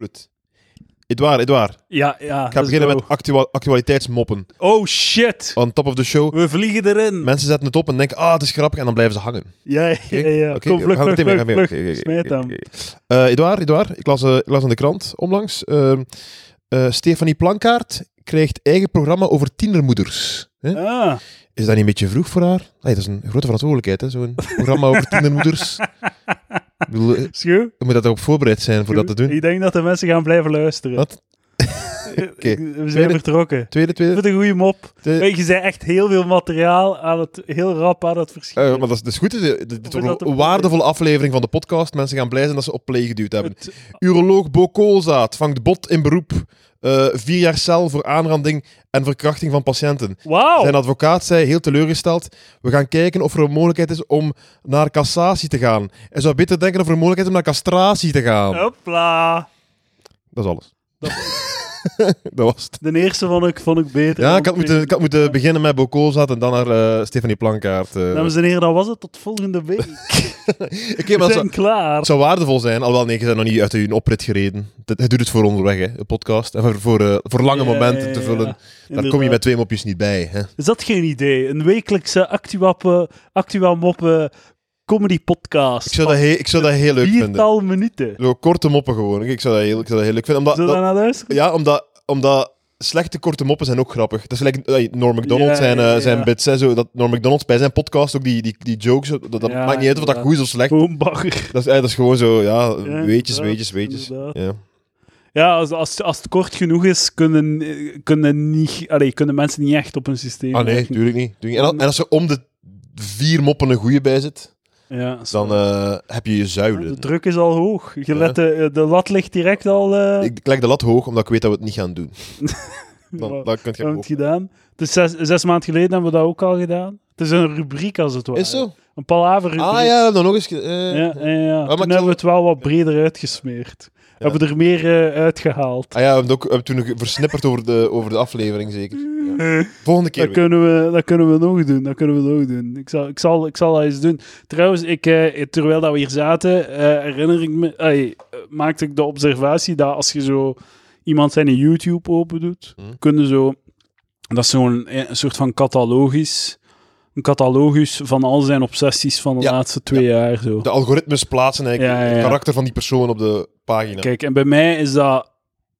Rut. Edouard, Edouard. Ja, ja. Ik ga beginnen met actua- actualiteitsmoppen. Oh shit! On top of the show. We vliegen erin. Mensen zetten het op en denken, ah, het is grappig. En dan blijven ze hangen. Ja, ja, Oké, ja. ja. oké, Kom, we vlug, gaan vlug, meteen weer, vlug, gaan weer. vlug. Oké, oké, oké, Smijt hem. oké. Eh, Edouard, Edouard. Ik las, eh, ik las in de krant onlangs. ehm, eh, Stefanie Plankaart krijgt eigen programma over tienermoeders. Hè? Ah, Is dat niet een beetje vroeg voor haar? Nee, dat is een grote verantwoordelijkheid, hè? zo'n programma over tienermoeders. Ik bedoel, eh, schuw. je moet dat erop voorbereid zijn voor dat te doen. Ik denk dat de mensen gaan blijven luisteren. Wat? Oké. We zijn Tweede- vertrokken. Tweede, Ik tweede. vind het een goede mop. tweede. Weet je, zei echt heel veel materiaal aan het, heel rap aan het Eh, verschijnen. maar dat is, dat is goed. Dit- Dit Of dit is wordt dat een een- waardevolle aflevering van de podcast. Mensen gaan blij zijn dat ze op play geduwd hebben. Het- Uroloog Bo Koolzaad vangt bot in beroep. Eh, vier jaar cel voor aanranding en verkrachting van patiënten. Wauw! Zijn advocaat zei, heel teleurgesteld, we gaan kijken of er een mogelijkheid is om naar cassatie te gaan. Hij zou beter denken of er een mogelijkheid is om naar castratie te gaan. Hopla! Dat is alles. Oh. Dat- Dat was het. De eerste vond ik, vond ik beter. Ja, dan ik had de moeten, tweede. ik had moeten beginnen met Bo Koolzaad en dan naar eh, Stefanie Plankaart. eh. Dames en heren, dat was het. Tot volgende week. Oké, maar We dat zou- zijn klaar. Het zou waardevol zijn, alhoewel nee, je bent nog niet uit je oprit gereden. Dat- Hij doet het voor onderweg, hè, een podcast. En voor, voor, eh, voor lange Ja, momenten ja, te ja, vullen. ja. Daar kom je Inderdaad. met twee mopjes niet bij. Hè. Is dat geen idee? Een wekelijkse actua, actua moppen comedy podcast. Ik, zou dat heel, ik zou dat heel leuk vinden. Viertal minuten. Zo korte moppen gewoon. Ik zou dat heel, ik zou dat heel leuk vinden. Omdat, Zullen we dat- daar naar luisteren? ja, omdat, omdat slechte korte moppen zijn ook grappig. Dat is gelijk eh, Norm MacDonald Ja, zijn, eh, ja, ja. zijn bits. Hè, zo, dat Norm MacDonald bij zijn podcast ook die, die, die jokes. Dat, dat Ja, maakt niet uit of dat inderdaad. goed is of slecht. Gewoon bagger. Dat is, eh, dat is gewoon zo, ja, Ja, weetjes, inderdaad, weetjes, weetjes. inderdaad. Ja. Ja, als, als, als het kort genoeg is, kunnen, eh, kunnen, niet, allee, kunnen mensen niet echt op hun systeem. Ah nee, werken. tuurlijk niet. Tuurlijk niet. En, al- en als er om de vier moppen een goeie bij zit... Ja, dan eh, heb je je de zuilen. druk is al hoog. Je Ja. let de, eh, de lat ligt direct al. eh, Ik, ik leg de lat hoog, omdat ik weet dat we het niet gaan doen. Dan, wat- dan kun je we hebben ook. het gedaan. Het is zes, zes maanden geleden hebben we dat ook al gedaan. Het is een rubriek als het ware. Is zo? Een palaverrubriek. Ah ja, dan nog eens. ge- eh, Ja, ja, maar ja. Toen ik zal- hebben we het wel wat breder uitgesmeerd. Hebben we er meer eh, uitgehaald. Ah ja, we hebben, het ook, we hebben het toen nog versnipperd over de, over de aflevering, zeker. Ja. Volgende keer Dat weer. kunnen, we, dat kunnen we nog doen. Dat kunnen we nog doen. Ik zal, ik zal, ik zal dat eens doen. Trouwens, ik, eh, terwijl dat we hier zaten, eh, herinner ik me, ey, eh, maakte ik de observatie dat als je zo iemand zijn YouTube open doet, Hm. kunnen zo. Dat is zo'n eh, een soort van catalogus. Een catalogus van al zijn obsessies van de Ja, laatste twee jaar. Zo. De algoritmes plaatsen eigenlijk Ja, ja, het ja. karakter van die persoon op de pagina. Kijk, en bij mij is dat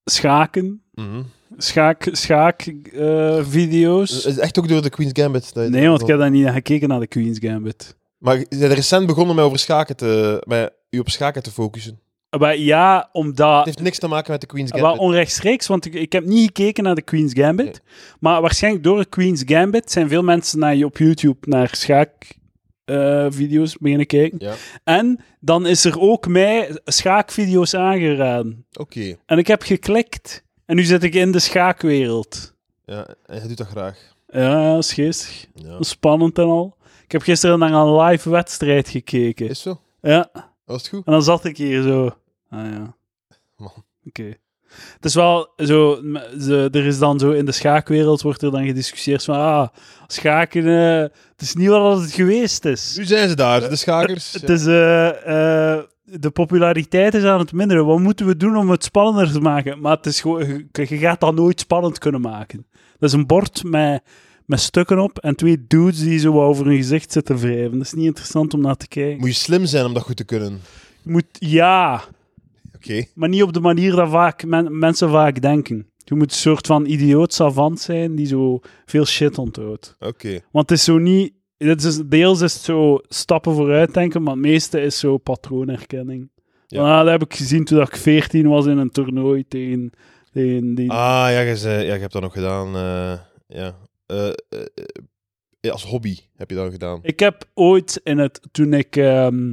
schaken. Mhm. Schaak, schaak eh, video's. Is het echt ook door de Queen's Gambit? dat je- Nee, want ik heb daar niet naar gekeken naar de Queen's Gambit. Maar je bent recent begonnen met, over schaken te, met u op schaken te focussen. Maar Eh, ja, Het omdat. heeft niks te maken met de Queen's Wel Gambit. onrechtstreeks, want ik, ik heb niet gekeken naar de Queen's Gambit. Maar waarschijnlijk door de Queen's Gambit zijn veel mensen naar, je op YouTube naar schaakvideo's beginnen kijken. Ja. En dan is er ook mij schaakvideo's aangeraden. Oké. En ik heb geklikt. En nu zit ik in de schaakwereld. Ja, en hij doet dat graag. Ja, dat is geestig. Ja. Spannend en al. Ik heb gisteren naar een live wedstrijd gekeken. Is zo? Ja. Was het goed? En dan zat ik hier zo. Ah ja. Man. Oké. Het is wel zo, m- ze- er is dan zo in de schaakwereld wordt er dan gediscussieerd van, ah, schaken, eh, het is niet wat het geweest is. Nu zijn ze daar, de schakers. Het is, eh, eh, de populariteit is aan het minderen. Wat moeten we doen om het spannender te maken? Maar het is gewoon, je, je gaat dat nooit spannend kunnen maken. Dat is een bord met, met stukken op en twee dudes die zo wat over hun gezicht zitten wrijven. Dat is niet interessant om naar te kijken. Moet je slim zijn om dat goed te kunnen. Je moet, ja, Oké. maar niet op de manier dat vaak men- mensen vaak denken. Je moet een soort van idioot savant zijn die zo veel shit onthoudt. Oké. Want het is zo niet... Het is, deels is het zo stappen vooruit denken, maar het meeste is zo patroonherkenning. Ja. Van, ah, dat heb ik gezien toen ik 14 was in een toernooi tegen... tegen die... Ah, ja, je, zei- ja, je hebt dat nog gedaan. eh, ja. Eh, eh, eh, ja, Als hobby heb je dat gedaan. Ik heb ooit in het... Toen ik ehm,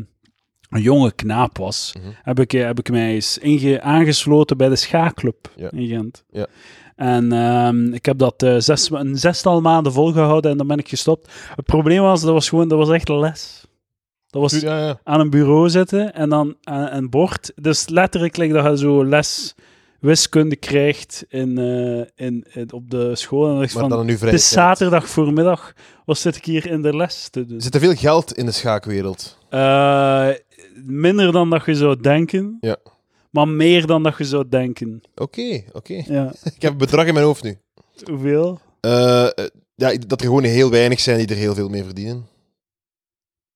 een jonge knaap was, Mhm. heb, ik, eh, heb ik mij eens inge- aangesloten bij de schaakclub Ja. in Gent. Ja. En ehm, ik heb dat eh, zes, een zestal maanden volgehouden en dan ben ik gestopt. Het probleem was, dat was gewoon, dat was echt les. Dat was Ja, ja. aan een bureau zitten en dan aan een bord. Dus letterlijk like dat je zo les wiskunde krijgt in, eh, in, in- op de school. En dan dacht ik Maar van, dan nu vrij. het is zaterdag voormiddag, wat zit ik hier in de les te doen? Er zit er veel geld in de schaakwereld. Eh, minder dan dat je zou denken. Ja. Maar meer dan dat je zou denken. Oké, oké. Ja. Ik heb een bedrag in mijn hoofd nu. Hoeveel? Eh, eh, ja, ik- dat er gewoon heel weinig zijn die er heel veel mee verdienen.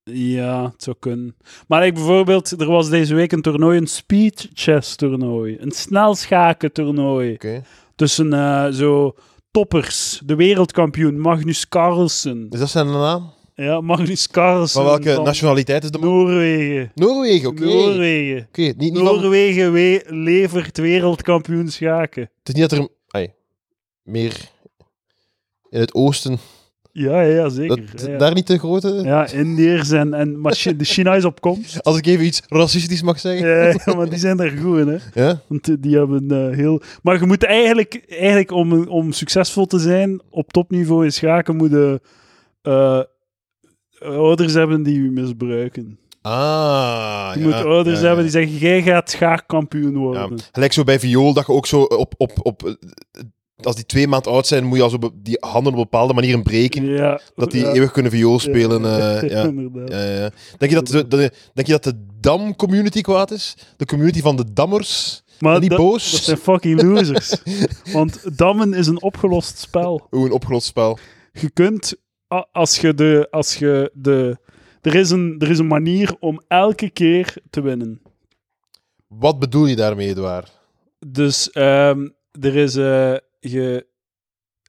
Ja, het zou kunnen. Maar ik bijvoorbeeld, er was deze week een toernooi, een speed chess toernooi. Een snelschaken toernooi. Oké. Tussen eh, zo toppers. De wereldkampioen Magnus Carlsen. Dus dat zijn de naam. Ja, Magnus Carlsen. Van welke van nationaliteit is de man? Noorwegen. Noorwegen, oké. Oké, Noorwegen. niet, niet van- Noorwegen we- levert wereldkampioen schaken. het is niet dat er ai, meer in het oosten, Ja, ja, dat, zeker. ja. daar niet de grote... Ja, Indiërs en, en maar Chi- de China is op komst. Als ik even iets racistisch mag zeggen. Ja, ja, maar die zijn daar goed in, hè. Ja? Want eh, die hebben eh, heel... Maar je moet eigenlijk, eigenlijk om, om succesvol te zijn op topniveau in schaken, moet je eh, ouders hebben die je misbruiken. Ah, Je ja, moet ouders ja, hebben ja. die zeggen, jij gaat schaakkampioen Ja, worden. gelijk zo bij viool, dat je ook zo op, op, op... eh, Als die twee maand oud zijn, moet je al zo be- die handen op bepaalde manieren breken. Ja, Dat die ja. eeuwig kunnen viool spelen. eh, ja. inderdaad. Ja, ja, ja. Denk, je dat de, de- denk je dat de dam-community kwaad is? De community van de dammers? Maar die dat, boos? dat zijn fucking losers. Want dammen is een opgelost spel. Oeh, een opgelost spel. je kunt, a- als je de, als je de, er is een, er is een manier om elke keer te winnen. Wat bedoel je daarmee, Edouard? Dus ehm, er is, eh, je,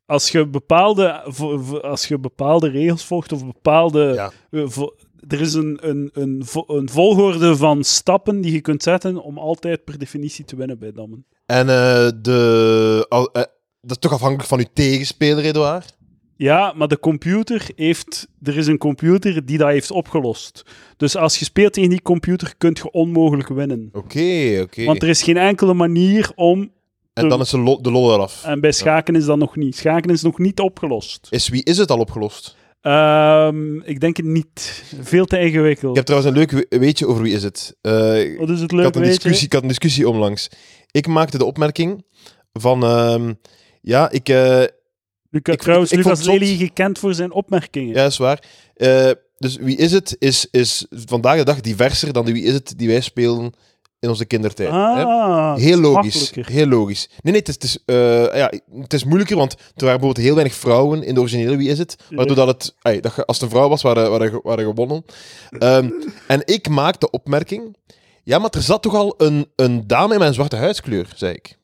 als je bepaalde, vo- vo- als je bepaalde regels volgt of bepaalde, Ja. eh, vo- er is een, een, een, vo- een volgorde van stappen die je kunt zetten om altijd per definitie te winnen bij dammen. En eh, de, al- eh, dat is toch afhankelijk van uw tegenspeler, Edouard? Ja, maar de computer heeft. Er is een computer die dat heeft opgelost. Dus als je speelt tegen die computer, kun je onmogelijk winnen. Oké, oké. Want er is geen enkele manier om. En dan is de, lo- de lol eraf. En bij schaken is dat nog niet. Schaken is nog niet opgelost. Is wie is het al opgelost? Ehm, ik denk het niet. Veel te ingewikkeld. Ik heb trouwens een leuk we- weetje over wie is het. Eh, Wat is ik, het leuk had een weet discussie, ik had een discussie omlangs. Ik maakte de opmerking van... ehm, ja, ik... eh, Lucas, Ik- trouwens, ik- ik Lucas vond het Lely gekend voor zijn opmerkingen. Ja, is waar. Eh, dus Wie is het is, is vandaag de dag diverser dan de Wie is het die wij spelen in onze kindertijd. hè? ah, Heel dat is logisch. makkelijker. Heel logisch. Nee, nee, het is, het, is, eh, ja, het is moeilijker, want er waren bijvoorbeeld heel weinig vrouwen in de originele Wie is het. Waardoor dat het, ai, dat je- als het een vrouw was, waren, waren, waren gewonnen. Ehm, en ik maak de opmerking. Ja, maar er zat toch al een, een dame in mijn zwarte huidskleur, zei ik.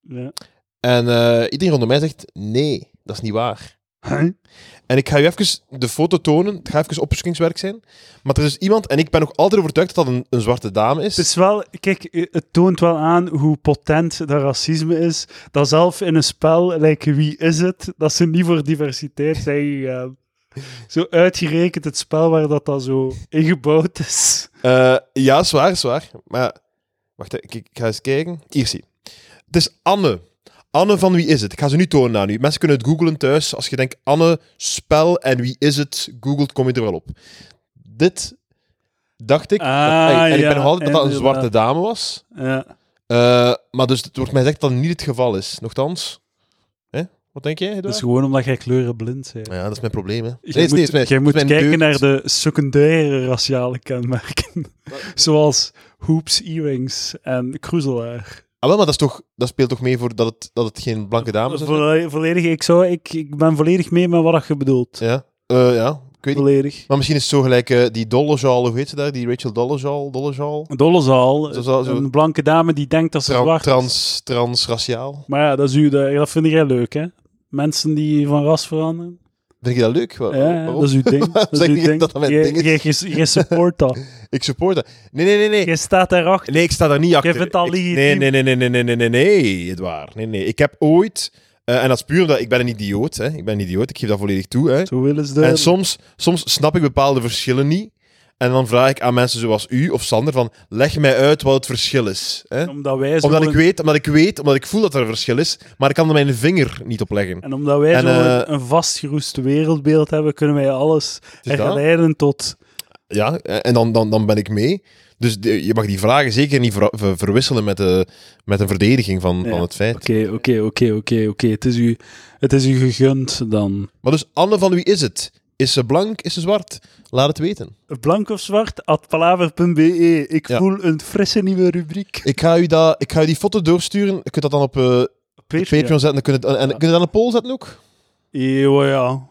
Ja. En eh, iedereen rondom mij zegt: nee, dat is niet waar. En ik ga u even de foto tonen. Het gaat even opzoekingswerk zijn. Maar er is iemand, en ik ben nog altijd overtuigd dat dat een, een zwarte dame is. Het is wel, kijk, eh, het toont wel aan hoe potent dat racisme is. Dat zelf in een spel, like wie is het, dat ze niet voor diversiteit zijn gegaan. Zo uitgerekend het spel waar dat dan zo ingebouwd is. Eh, ja, zwaar, zwaar. Maar wacht, ik, ik ga eens kijken. Hier zie. Het is Anne. Anne van wie is het? Ik ga ze nu tonen aan u. Mensen kunnen het googlen thuis. Als je denkt Anne, spel en wie is het, googelt, kom je er wel op. Dit dacht ik. Ah, en ik ja, ben nog altijd dat dat een inderdaad. zwarte dame was. Ja. Eh, maar dus het wordt mij gezegd dat dat niet het geval is. Nochtans. Hè? Wat denk jij? Edouard? Dat is Dus gewoon omdat jij kleurenblind bent. Ja, dat is mijn probleem, hè. Je Nee, moet, nee, is mijn- jij is moet mijn kijken deugd. naar de secundaire raciale kenmerken. Zoals hoops, earrings en kroezelaar. Ah, wel, maar dat, is toch, dat speelt toch mee voor dat het, dat het geen blanke dames zijn? Volle- volledig, ik, zou, ik, ik ben volledig mee met wat dat je bedoelt. Ja. Eh, ja, ik weet niet. Volledig. Maar misschien is het zo gelijk eh, die Dollejaal, hoe heet ze daar? Die Rachel Dollejaal? Dollejaal? Dollezaal, Zo- zo- zo- een blanke dame die denkt dat ze Tra zwart is. trans, transraciaal. Maar ja, dat, is u, dat, dat vind jij leuk, hè? Mensen die van ras veranderen. Vind je dat leuk? Wa- Ja, ja, waarom? dat is uw ding. dat is zeg uw je ding. dat dat mijn Jij- ding is? jij- jij- Jij support dat. Ik support dat. Nee, nee, nee, nee. Jij staat daarachter. Nee, ik sta daar niet achter. vindt dat Ik- legitiem? Nee, nee, nee, nee, nee, nee, nee, nee, nee, Edouard. Nee, nee. Ik heb ooit... eh, en dat is puur omdat ik ben een idioot, hè. Ik ben een idioot, ik geef dat volledig toe, hè. Zo eh, willen ze En dat. soms, soms snap ik bepaalde verschillen niet. En dan vraag ik aan mensen zoals u of Sander van, leg mij uit wat het verschil is. Hè? Omdat wij zo Omdat ik een- weet, omdat ik weet, omdat ik voel dat er een verschil is, maar ik kan er mijn vinger niet op leggen. En omdat wij En, zo'n eh, een vastgeroest wereldbeeld hebben, kunnen wij alles dat? herleiden tot... Ja, en dan, dan, dan ben ik mee. Dus de- je mag die vragen zeker niet ver- ver- verwisselen met, de, met een verdediging van, Ja, van het feit. Oké, oké, oké, oké, oké. Het is u- Het is u gegund dan. Maar dus Anne van wie is het? Is ze blank? Is ze zwart? Laat het weten. Blank of zwart, at palaver.be. E. Ik Ja. voel een frisse nieuwe rubriek. Ik ga u, dat, ik ga u die foto doorsturen. Je kunt dat dan op eh, Patreon zetten. Dan kun je, het- en, en Ja. kun je dat aan een poll zetten ook? Eeuw, oh ja.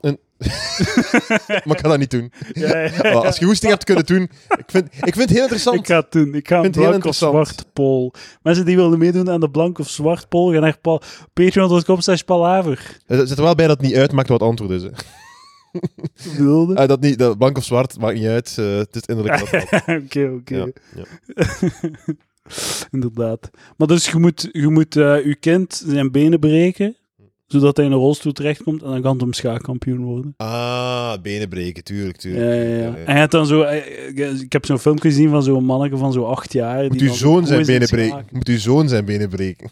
Maar ik ga dat niet doen. Ja, ja, ja. Maar als je goesting hebt kunnen doen. Ik vind, ik vind het heel Ik interessant. ga het doen. Ik ga een vind het heel blank of interessant. zwart pol. Mensen die wilden meedoen aan de blank of zwart pol, gaan naar pa- patreon.com slash palaver. Er zit er wel bij dat het niet uitmaakt wat het antwoord is. Hè. Bedoelde? Eh, dat niet, dat blank of zwart, maakt niet uit. Eh, het is inderdaad wat het is. Oké, oké. Ah. Ja, ja. Inderdaad. Maar dus je moet je moet, eh, uw kind zijn benen breken, zodat hij in een rolstoel terechtkomt en dan kan het hem schaakkampioen worden. Ah, benen breken, tuurlijk, Ja, tuurlijk. ja, ja. En hij had dan zo, eh, eh, ik heb zo'n filmpje gezien van zo'n manneke van zo'n acht jaar. Moet die uw dan zo zoon goed zijn is in benen breken. schaken. Moet uw zoon zijn benen breken.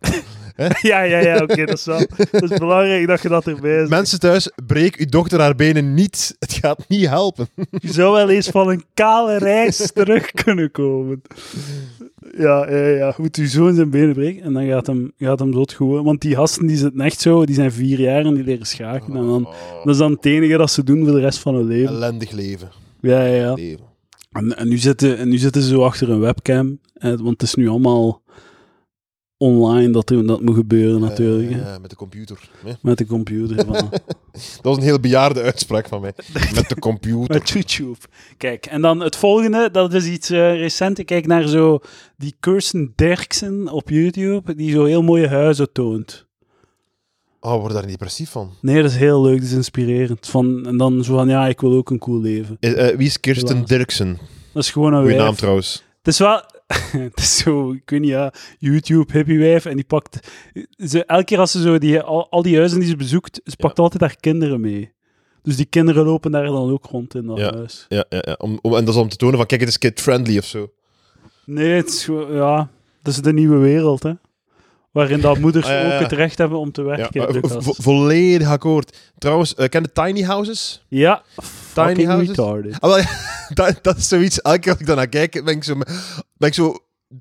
Ja, ja, ja, oké, dat, is wel- dat is belangrijk dat je dat erbij zegt. Mensen thuis, breek uw dochter haar benen niet. Het gaat niet helpen. Je zou wel eens van een kale reis terug kunnen komen. Ja, ja, ja. Moet u zo in zijn benen breken en dan gaat hem, gaat hem dood goed. Want die gasten die zitten echt zo, die zijn vier jaar en die leren schaken. En dan, Oh, dat is dan het enige dat ze doen voor de rest van hun leven. ellendig leven. Ja, ja, ja. leven. En, en nu zitten, en nu zitten ze zo achter een webcam. eh, want het is nu allemaal online dat er- dat moet gebeuren natuurlijk. Eh, hè. ja, met de computer. Ja. Met de computer. Van, Dat was een heel bejaarde uitspraak van mij. Met de computer. Met YouTube. Kijk, en dan het volgende, dat is iets eh, recent. Ik kijk naar zo die Kirsten Derksen op YouTube, die zo heel mooie huizen toont. Oh, word daar niet depressief van. Nee, dat is heel leuk, dat is inspirerend. Van, en dan zo van, ja, ik wil ook een cool leven. Eh, eh, wie is Kirsten Helaas. Oh, Dirksen? Dat is gewoon een Goeie wijf. naam trouwens. Het is wel... het is zo, ik weet niet, ja, YouTube hippiewijf. En die pakt... Ze, elke keer als ze zo die, al, al die huizen die ze bezoekt, ze pakt altijd haar kinderen mee. Dus die kinderen lopen daar dan ook rond in dat Ja. huis. Ja, ja, ja. Om, om, en dat is om te tonen van, kijk, het is kid-friendly of zo. Nee, het is gewoon- ja, dat is de nieuwe wereld, hè. Waarin dat moeders Ah, ja, ja. ook het recht hebben om te Ja, werken. eh, Lucas. vo- volledig akkoord. Trouwens, eh, ken je tiny houses? ja, fucking houses? retarded. Ah, wel, ja, dat, dat is zoiets. Elke keer als ik daarnaar kijk, ben ik zo, ben ik zo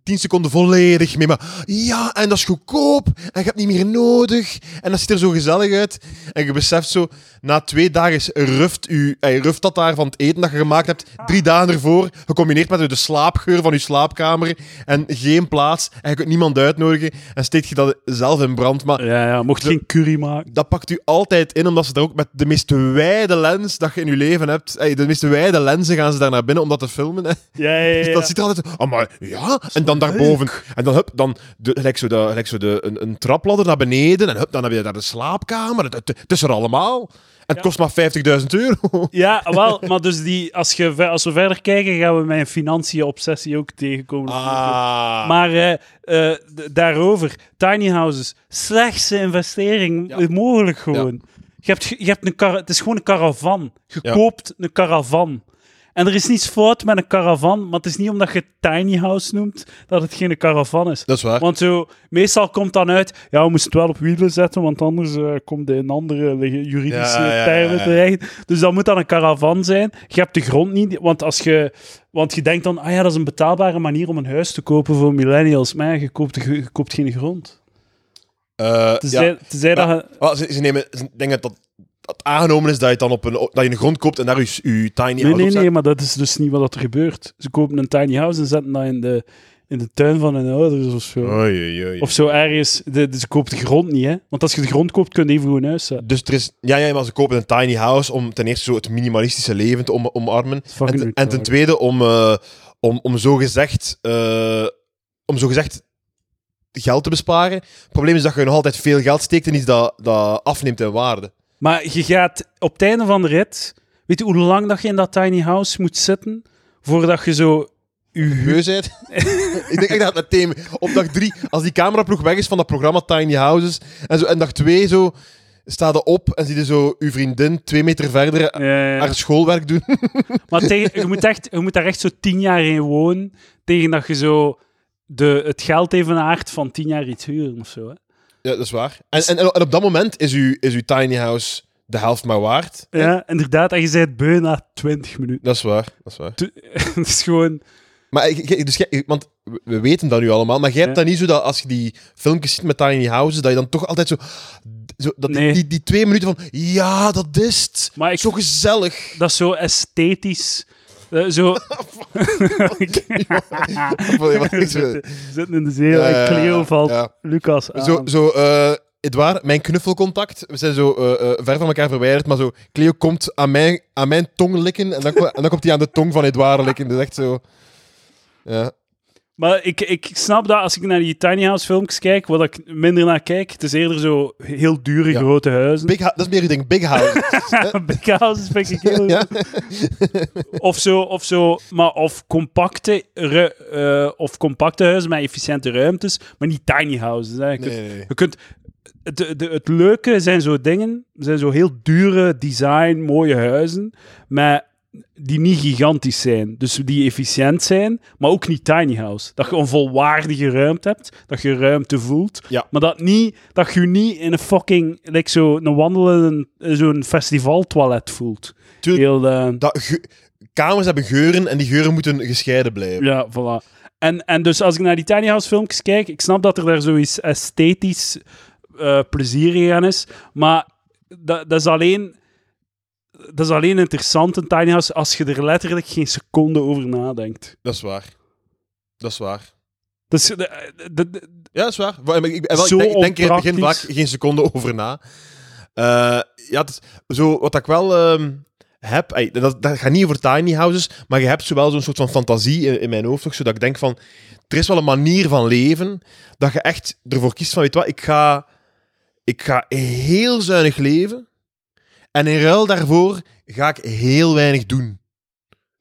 tien seconden volledig mee. Maar ja, en dat is goedkoop. En je hebt niet meer nodig. En dat ziet er zo gezellig uit. En je beseft zo, na twee dagen is- ruft, u, eh, ruft dat daar van het eten dat je gemaakt hebt. Drie dagen ervoor, gecombineerd met de slaapgeur van je slaapkamer. En geen plaats. En je kunt niemand uitnodigen. En steekt je dat zelf in brand. Maar Ja, ja, mocht geen curry maken. dat pakt u altijd in, omdat ze daar ook met de meest wijde lens dat je in je leven hebt. ey, de meest wijde lenzen gaan ze daar naar binnen om dat te filmen. hè. Ja, ja, ja. Dus dat ziet er altijd. Ah, maar ja. En dan daarboven. En dan hup, dan de, gelijk zo, de, gelijk zo de, een, een trapladder naar beneden. En hup, dan heb je daar de slaapkamer. Het, het- het is er allemaal. En het Ja. kost maar 50.000 euro. ja, wel, maar dus die, als, je, ve- als we verder kijken, gaan we mijn financiën-obsessie ook tegenkomen. Dus Ah. Maar eh, eh, d- daarover, tiny houses, slechtste investering Ja. mogelijk gewoon. Je hebt, ge- je hebt een kar het is gewoon een caravan. Je Ja. koopt een caravan. En er is niets fout met een caravan, maar het is niet omdat je het tiny house noemt dat het geen caravan is. dat is waar. Want zo, meestal komt dan uit, ja, we moesten het wel op wielen zetten, want anders eh, komt de in andere leg- juridische Ja, ja, ja, termen ja. terecht. Dus dat moet dan een caravan zijn. Je hebt de grond niet, want als je, want je denkt dan, ah ja, dat is een betaalbare manier om een huis te kopen voor millennials. Maar ja, je koopt, de gr- je koopt geen grond. Eh, Tenzij, ja. tenzij Ja. dat je- Ah, ze, ze nemen, ze denken dat dat aangenomen is dat je het dan op een, dat je een grond koopt en daar je, je tiny house Nee, op nee, zet. nee, maar dat is dus niet wat er gebeurt. Ze kopen een tiny house en zetten dat in de, in de tuin van hun ouders of zo. Oei, oei, oei. Of zo ergens. De, de- ze koopt de grond niet, hè. Want als je de grond koopt, kun je even gewoon een huis zetten. Dus er is, ja, ja, maar ze kopen een tiny house om ten eerste zo het minimalistische leven te om- omarmen. is En, fucking ten- en ten retarded. tweede om, eh om, om zogezegd eh, om zogezegd geld te besparen. Het probleem is dat je nog altijd veel geld steekt in iets dat, dat afneemt in waarde. Maar je gaat op het einde van de rit. Weet je hoe lang dat je in dat tiny house moet zitten? Voordat je zo. Je hu- Beu zijt. ik denk echt dat het thema. Op dag drie, als die cameraploeg weg is van dat programma Tiny Houses, en, zo, en dag twee zo, staat er op en zie je zo uw vriendin twee meter verder Ja, ja. haar schoolwerk doen. Maar tegen, je, moet echt, je moet daar echt zo tien jaar in wonen. Tegen dat je zo de, het geld evenaart van tien jaar iets huren of zo. Hè? Ja, dat is waar. En, Dus- en, en op dat moment is uw, is uw tiny house de helft maar waard. Ja, inderdaad. En je bent beu na twintig minuten. Dat is waar, dat is waar. Het is gewoon. Maar ik- ik- dus, jij- want we- we weten dat nu allemaal, maar jij hebt Ja. dat niet zo dat als je die filmpjes ziet met Tiny Houses, dat je dan toch altijd zo... zo dat die- Nee. die, die twee minuten van, ja, dat is het. Maar ik- Zo gezellig. Dat is zo esthetisch. Eh, zo... zo- Zitten zitten in de zeel Ja, ja, en Cleo ja, valt ja. Lucas Ah. aan. Zo, zo eh Edouard, mijn knuffelcontact, we zijn zo eh, eh, ver van elkaar verwijderd, maar zo, Cleo komt aan mijn, aan mijn tong likken en dan, en dan komt hij aan de tong van Edouard likken. Dat is echt zo... Ja. Maar ik, ik snap dat als ik naar die tiny house filmpjes kijk, wat ik minder naar kijk, het is eerder zo heel dure Ja. grote huizen. Big hou- dat is meer je ding, big house. Big houses vind ik heel... ja. Of zo, of zo, maar of compacte, ru- eh, of compacte huizen met efficiënte ruimtes, maar niet tiny houses. Hè. Je kunt- Nee, nee, nee. Je kunt, het, de, het leuke zijn zo dingen, zijn zo heel dure design, mooie huizen, maar die niet gigantisch zijn. Dus die efficiënt zijn, maar ook niet tiny house. Dat je een volwaardige ruimte hebt, dat je ruimte voelt, Ja. maar dat, niet, dat je niet in een fucking, like zo, een wandelende, zo'n festivaltoilet voelt. Tuurlijk. Heel, eh, Dat ge- kamers hebben geuren en die geuren moeten gescheiden blijven. ja, voilà. En, en dus als ik naar die tiny house filmpjes kijk, ik snap dat er daar zoiets esthetisch eh, plezier aan is, maar dat, dat is alleen... Dat is alleen interessant, een tiny house, als je er letterlijk geen seconde over nadenkt. Dat is waar. Dat is waar. Dus de- de- de- Ja, dat is waar. Wa- maar Ik, ik, wel, ik Zo denk, ik denk er in het begin vaak onpraktisch. geen seconde over na. Eh, ja, het is- zo, wat ik wel ehm, heb, ey, dat, dat gaat niet over tiny houses, maar je hebt zowel zo'n soort van fantasie in, in mijn hoofd, toch, zodat ik denk van, er is wel een manier van leven dat je echt ervoor kiest van, weet je wat, ik ga, ik ga heel zuinig leven en in ruil daarvoor ga ik heel weinig doen.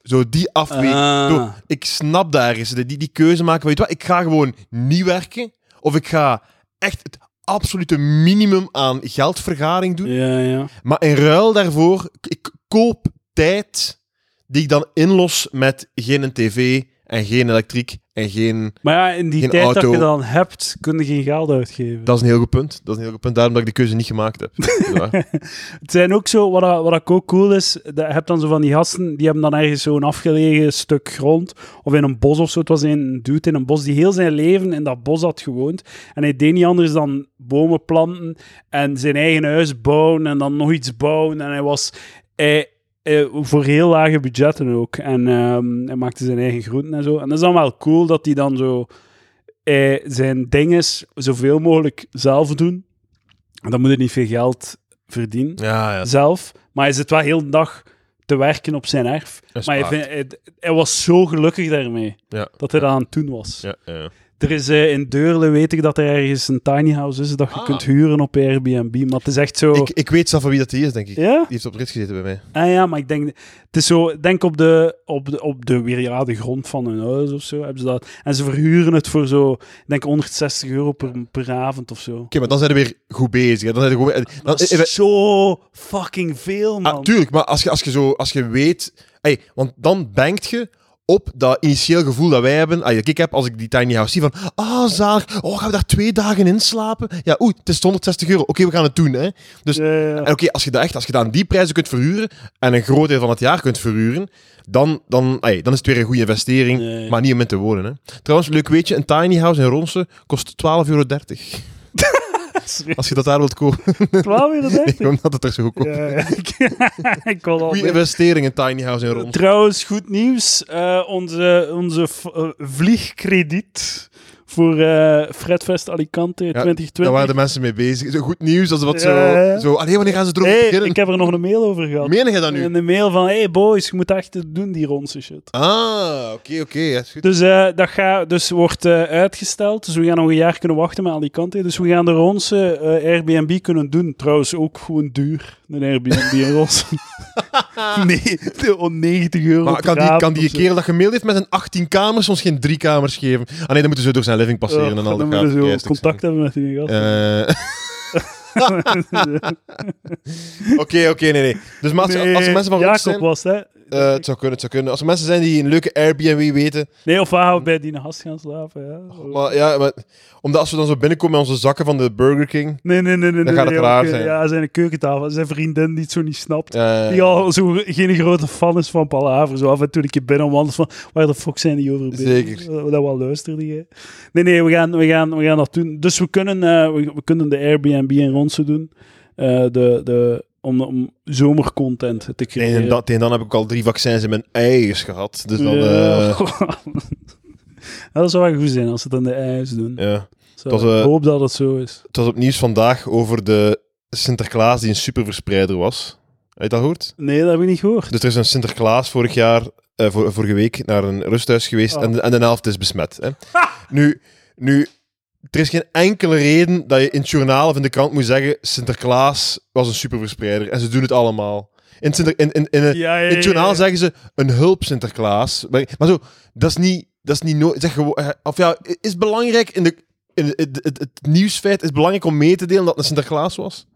Zo die afweging. Ah. Zo, ik snap daar eens die, die keuze maken. Weet je wat? Ik ga gewoon niet werken. Of ik ga echt het absolute minimum aan geldvergaring doen. ja, ja. Maar in ruil daarvoor, k- ik koop tijd die ik dan inlos met geen tv en geen elektriek en geen... Maar ja, in die Geen tijd dat auto. je dan hebt, kun je geen geld uitgeven. Dat is een heel goed punt. Dat is een heel goed punt. Daarom dat ik de keuze niet gemaakt heb. Ja. Het zijn ook zo, wat, dat- wat dat ook cool is, dat- je hebt dan zo van die gasten, die hebben dan ergens zo'n afgelegen stuk grond, of in een bos of zo. Het was een dude in een bos die heel zijn leven in dat bos had gewoond. En hij deed niet anders dan bomen planten en zijn eigen huis bouwen en dan nog iets bouwen. En hij was hij, eh, voor heel lage budgetten ook. En ehm, hij maakte zijn eigen groenten en zo. En dat is dan wel cool dat hij dan zo eh, zijn dingen zoveel mogelijk zelf doen. En dan moet hij niet veel geld verdienen ja, ja. zelf. Maar hij zit wel heel de dag te werken op zijn erf. Dat is Maar hij, waar. vindt- hij, hij was zo gelukkig daarmee Ja. dat hij dat aan het doen was. Ja, ja, ja. Er is eh, in Deurle, weet ik, dat er ergens een tiny house is dat je Ah. kunt huren op Airbnb. Maar het is echt zo. Ik, ik weet zelf van wie dat die is, denk ik. Oh. Ja? Die heeft op de rit gezeten bij mij. Ah ja, maar ik denk, het is zo, denk op de, op de, op de, weer, ja, de grond van hun huis of zo, hebben ze dat. En ze verhuren het voor zo, ik denk 160 euro per, per avond of zo. Oké, maar dan zijn we weer goed bezig. hè. Dan zijn we gewoon... dan- Dat is eh, zo fucking veel, Oh, man. Ah, tuurlijk, maar als je, als je, zo, als je weet... Ey, want dan bankt je op dat initieel gevoel dat wij hebben, ah, dat ik heb als ik die tiny house zie, van ah, zalig, oh, gaan we daar twee dagen in slapen? Ja, oei, het is 160 euro. Oké, we gaan het doen, hè. Dus, Ja, ja, ja. en oké, als je dat echt, als je dat aan die prijzen kunt verhuren, en een groot deel van het jaar kunt verhuren, dan, dan, ey, dan is het weer een goede investering, Ja, ja. maar niet om in te wonen, hè. Trouwens, leuk weet je, een tiny house in Ronsen kost 12,30 euro. Als je dat daar wilt kopen, 12 euro, denk ik. omdat het er zo goedkoop is. Ja, ja. ik- Eh, ik wil al. Goeie investering, een tiny house in Ronsen. Trouwens, goed nieuws. Eh, onze onze v- eh, vliegkrediet voor eh Fredfest Alicante Ja, 2020. Daar waren de mensen mee bezig. Zo goed nieuws, dat ze wat Ja, ja, ja. zo... zo allee, wanneer gaan ze erover Hey, beginnen? ik heb er nog een mail over gehad. Meen je dat nu? En een mail van, hey boys, je moet echt doen die rondse shit. Ah, oké, oké. ja, is goed. Dus eh, dat ga, dus wordt eh, uitgesteld. Dus we gaan nog een jaar kunnen wachten met Alicante. Dus we gaan de Ronse eh, Airbnb kunnen doen. Trouwens, ook gewoon duur. Een Airbnb in Ronse. nee, de 90 euro maar per kan die, avond kan die of zo. kerel dat gemaild heeft met zijn 18 kamers ons geen 3 kamers geven? Ah nee, dan moeten ze door zijn living passeren en al Oh, dan dat moeten gaat we keistuk zo contact hebben met die zijn. gast. Eh, Oké, oké, nee, nee. Dus maar als, Nee, Dus als er mensen van Ronsen Jacob zijn... was, hè? Eh, het, zou kunnen, het zou kunnen. Als er mensen zijn die een leuke Airbnb weten. Nee, of waar gaan we bij die gast gaan slapen? Ja. Maar, ja, maar, omdat als we dan zo binnenkomen met onze zakken van de Burger King. Nee, nee, nee. nee Dan nee, gaat het nee, raar oké. zijn. Ja, zijn keukentafel. Zijn vriendin die het zo niet snapt. eh, Die al zo geen grote fan is van Palaver. Zo af en toe een keer binnen wandelt van... Waar de fuck zijn die over bezig? Zeker. Dat, dat wel luisterde je. Nee, nee, we gaan, we gaan, we gaan dat doen. Dus we kunnen, eh, we, we kunnen de Airbnb in Ronsen doen. Eh, de, de, om, om zomercontent te creëren. tegen, dan, tegen dan heb ik al drie vaccins in mijn eiers gehad. Dus dan. Ja. eh, dat zou wel goed zijn als ze het aan de ijs doen. ja. Zo, Dat, eh, ik hoop dat het zo is. Het was op nieuws vandaag over de Sinterklaas die een superverspreider was. Heb je dat gehoord? Nee, dat heb ik niet gehoord. Dus er is een Sinterklaas vorig jaar, eh, voor, vorige week, naar een rusthuis geweest Oh. en, de- en de helft is besmet. Hè? Nu, nu, er is geen enkele reden dat je in het journaal of in de krant moet zeggen Sinterklaas was een superverspreider en ze doen het allemaal. In, het Sinter- in, in, in, een- Ja, in het journaal zeggen ze een hulp Sinterklaas. Maar, maar zo, dat is niet, dat is niet nooit. Zeg gewoon, eh, of ja, is belangrijk in de, in het, het, het, het nieuwsfeit is belangrijk om mee te delen dat het een Sinterklaas was.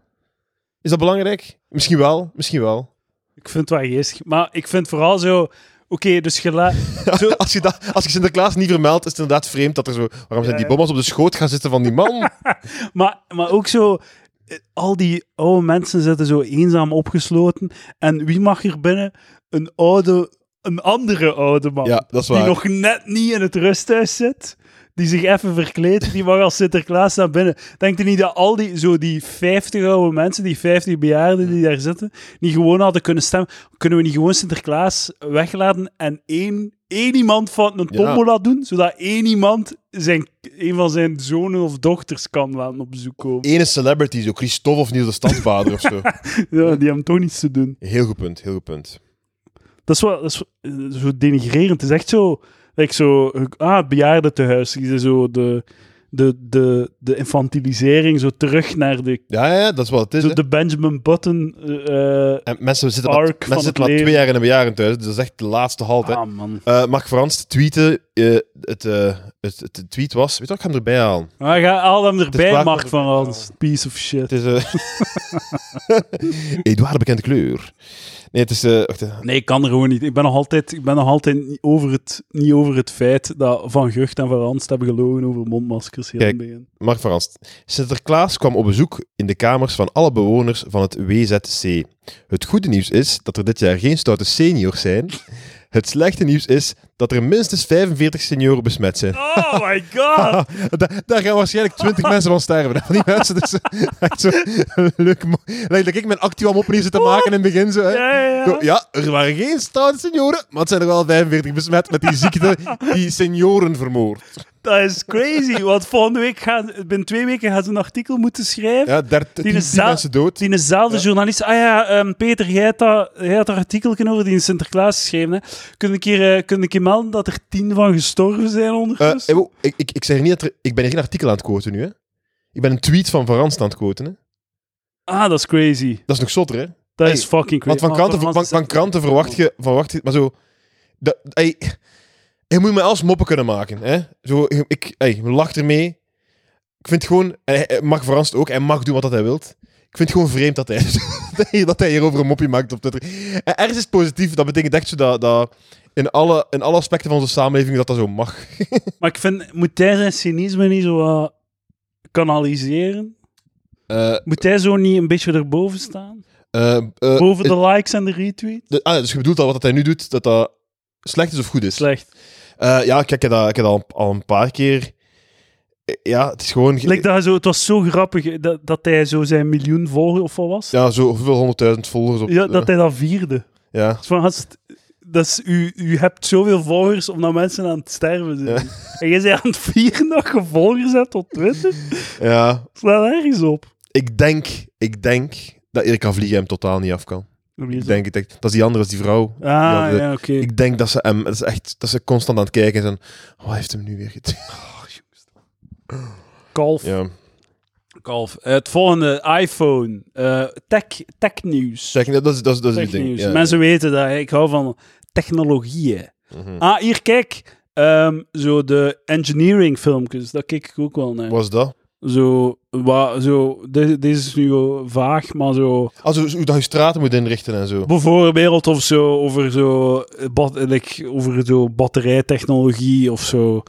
Is dat belangrijk? Misschien wel, misschien wel. Ik vind het wel geestig. Maar ik vind vooral zo... Oké, dus je laat... Zo- Als je, dat, als je Sinterklaas niet vermeldt, is het inderdaad vreemd dat er zo. Waarom Eh. zijn die bommas op de schoot gaan zitten van die man? Maar, maar ook zo... eh, Al die oude mensen zitten zo eenzaam opgesloten. En wie mag er binnen? Een oude... Een andere oude man. ja, dat is die waar. nog net niet in het rusthuis zit, die zich even verkleedt, die mag als Sinterklaas naar binnen. Denkt u niet dat al die, zo die 50 oude mensen, die 50 bejaarden die daar zitten, niet gewoon hadden kunnen stemmen? Kunnen we niet gewoon Sinterklaas weglaten en één, één iemand van een Ja. tombola doen, zodat één iemand zijn, een van zijn zonen of dochters kan laten op bezoek komen? Ene celebrity, zo Christophe of Niels de Stadsvader of zo. Ja, die hebben toch niets te doen. Heel goed punt, heel goed punt. Dat is wel dat is, eh, zo denigrerend. Het is echt zo, like zo eh, ah, het bejaardentehuis. Die zijn zo de, de, de, de infantilisering zo terug naar de, Ja, ja, ja, dat is wat het is. zo hè. de Benjamin Button. eh, eh, En mensen zitten, arc maar, van mensen het zitten maar leven. twee jaar in een bejaarden thuis, dus dat is echt de laatste halt. Hè. ah, man. Eh, Mark Frans tweette, eh, het, eh, het, het, het tweet was, weet je wat, ik ga hem erbij halen. Maar Ah, ga al hem is erbij, waar- Mark van Rans. Piece of shit. Het is... eh Edouard bekende kleur. Nee, het is... eh, wacht, eh, Nee, ik kan er gewoon niet. Ik ben nog altijd, ik ben nog altijd niet, over het, niet over het feit dat Van Gucht en Van Rans hebben gelogen over mondmaskers heel Kijk. in het begin. Mark Frans. Sinterklaas kwam op bezoek in de kamers van alle bewoners van het WZC. Het goede nieuws is dat er dit jaar geen stoute seniors zijn. Het slechte nieuws is dat er minstens 45 senioren besmet zijn. Oh my god! Ah, da- daar gaan waarschijnlijk 20 mensen van sterven. hè, Van die mensen. Dus, eh, echt zo, een leuk. mo- Lijkt dat ik mijn actiewam op zit te maken in het begin. Zo, hè. Oh. Ja, ja, Zo, ja. ja, er waren geen stoute senioren, maar het zijn er wel 45 besmet met die ziekte die senioren vermoord. Dat is crazy. Want volgende week gaan, binnen twee weken gaan ze een artikel moeten schrijven. Ja, daar Die tien, is tien za- mensen dood. Die eenzelfde journalist. Ah ja, ehm, Peter, jij had dat, jij had dat artikel over die in Sinterklaas geschreven. Hè. Kun je een keer, eh, kun je een keer melden dat er tien van gestorven zijn Eh, ondertussen? eh, wow, ik, ik, ik zeg niet dat er, ik ben hier geen artikel aan het quoten nu. Hè. Ik ben een tweet van Van Ranst aan het quoten. Hè. ah, dat is crazy. Dat is nog zotter, hè? Dat Hey, is fucking crazy. Want van Maar kranten, van, Frans van, is- kranten verwacht je, verwacht je, maar zo, dat, ey, je moet me als moppen kunnen maken, hè? Zo, ik, ey, lach ermee. Ik vind gewoon, en hij- hij mag verrast ook, hij mag doen wat dat hij wilt. Ik vind het gewoon vreemd dat hij, dat hij- dat hij hierover een mopje maakt op Twitter. En ergens is het positief, dat betekent echt zo dat, dat in, alle, in alle aspecten van onze samenleving dat dat zo mag. Maar ik vind, moet hij zijn cynisme niet zo eh, kanaliseren? Eh, Moet hij zo niet een beetje erboven staan? eh, eh, Boven is- de likes en de retweet? de- ah, dus je bedoelt dat wat dat hij nu doet, dat dat slecht is of goed is? Slecht. Eh, ja, kijk, ik heb dat, ik heb dat al, al een paar keer. Eh, Ja, het is gewoon. ge- Like dat hij zo, het was zo grappig eh, dat, dat hij zo zijn miljoen volgers of wat was. Ja, zo hoeveel honderdduizend volgers op. Ja, dat eh, hij dat vierde. ja. Het is Van, gast, dat is, u, u hebt zoveel volgers omdat mensen aan het sterven zijn. En jij bent aan het vieren dat je volgers hebt op Twitter? ja. Sla ergens op. Ik denk, ik denk dat Erika Vliegen hem totaal niet af kan. Ik denk, ik denk, dat is die andere, dat is die vrouw. Ah, Ja, de- ja, oké. Ik denk dat ze hem, dat is echt, dat ze constant aan het kijken zijn. Oh, hij heeft hem nu weer getraind. Kalf. Ja. Kalf. Eh, het volgende, iPhone. Eh, tech, tech nieuws. Zeg, dat is, dat is, dat is uw Tech ding. nieuws. Ja. Mensen weten dat. hè. Ik hou van technologieën. Mhm. Ah, hier, kijk. Ehm, zo de engineering filmpjes. Dat kijk ik ook wel naar. Wat is dat? Zo, wa, zo de- deze is nu wel vaag, maar zo... Also, Ah, hoe dat je straten moet inrichten en zo. Bijvoorbeeld of zo, over, zo, eh, bat, eh, like, over zo batterijtechnologie of zo.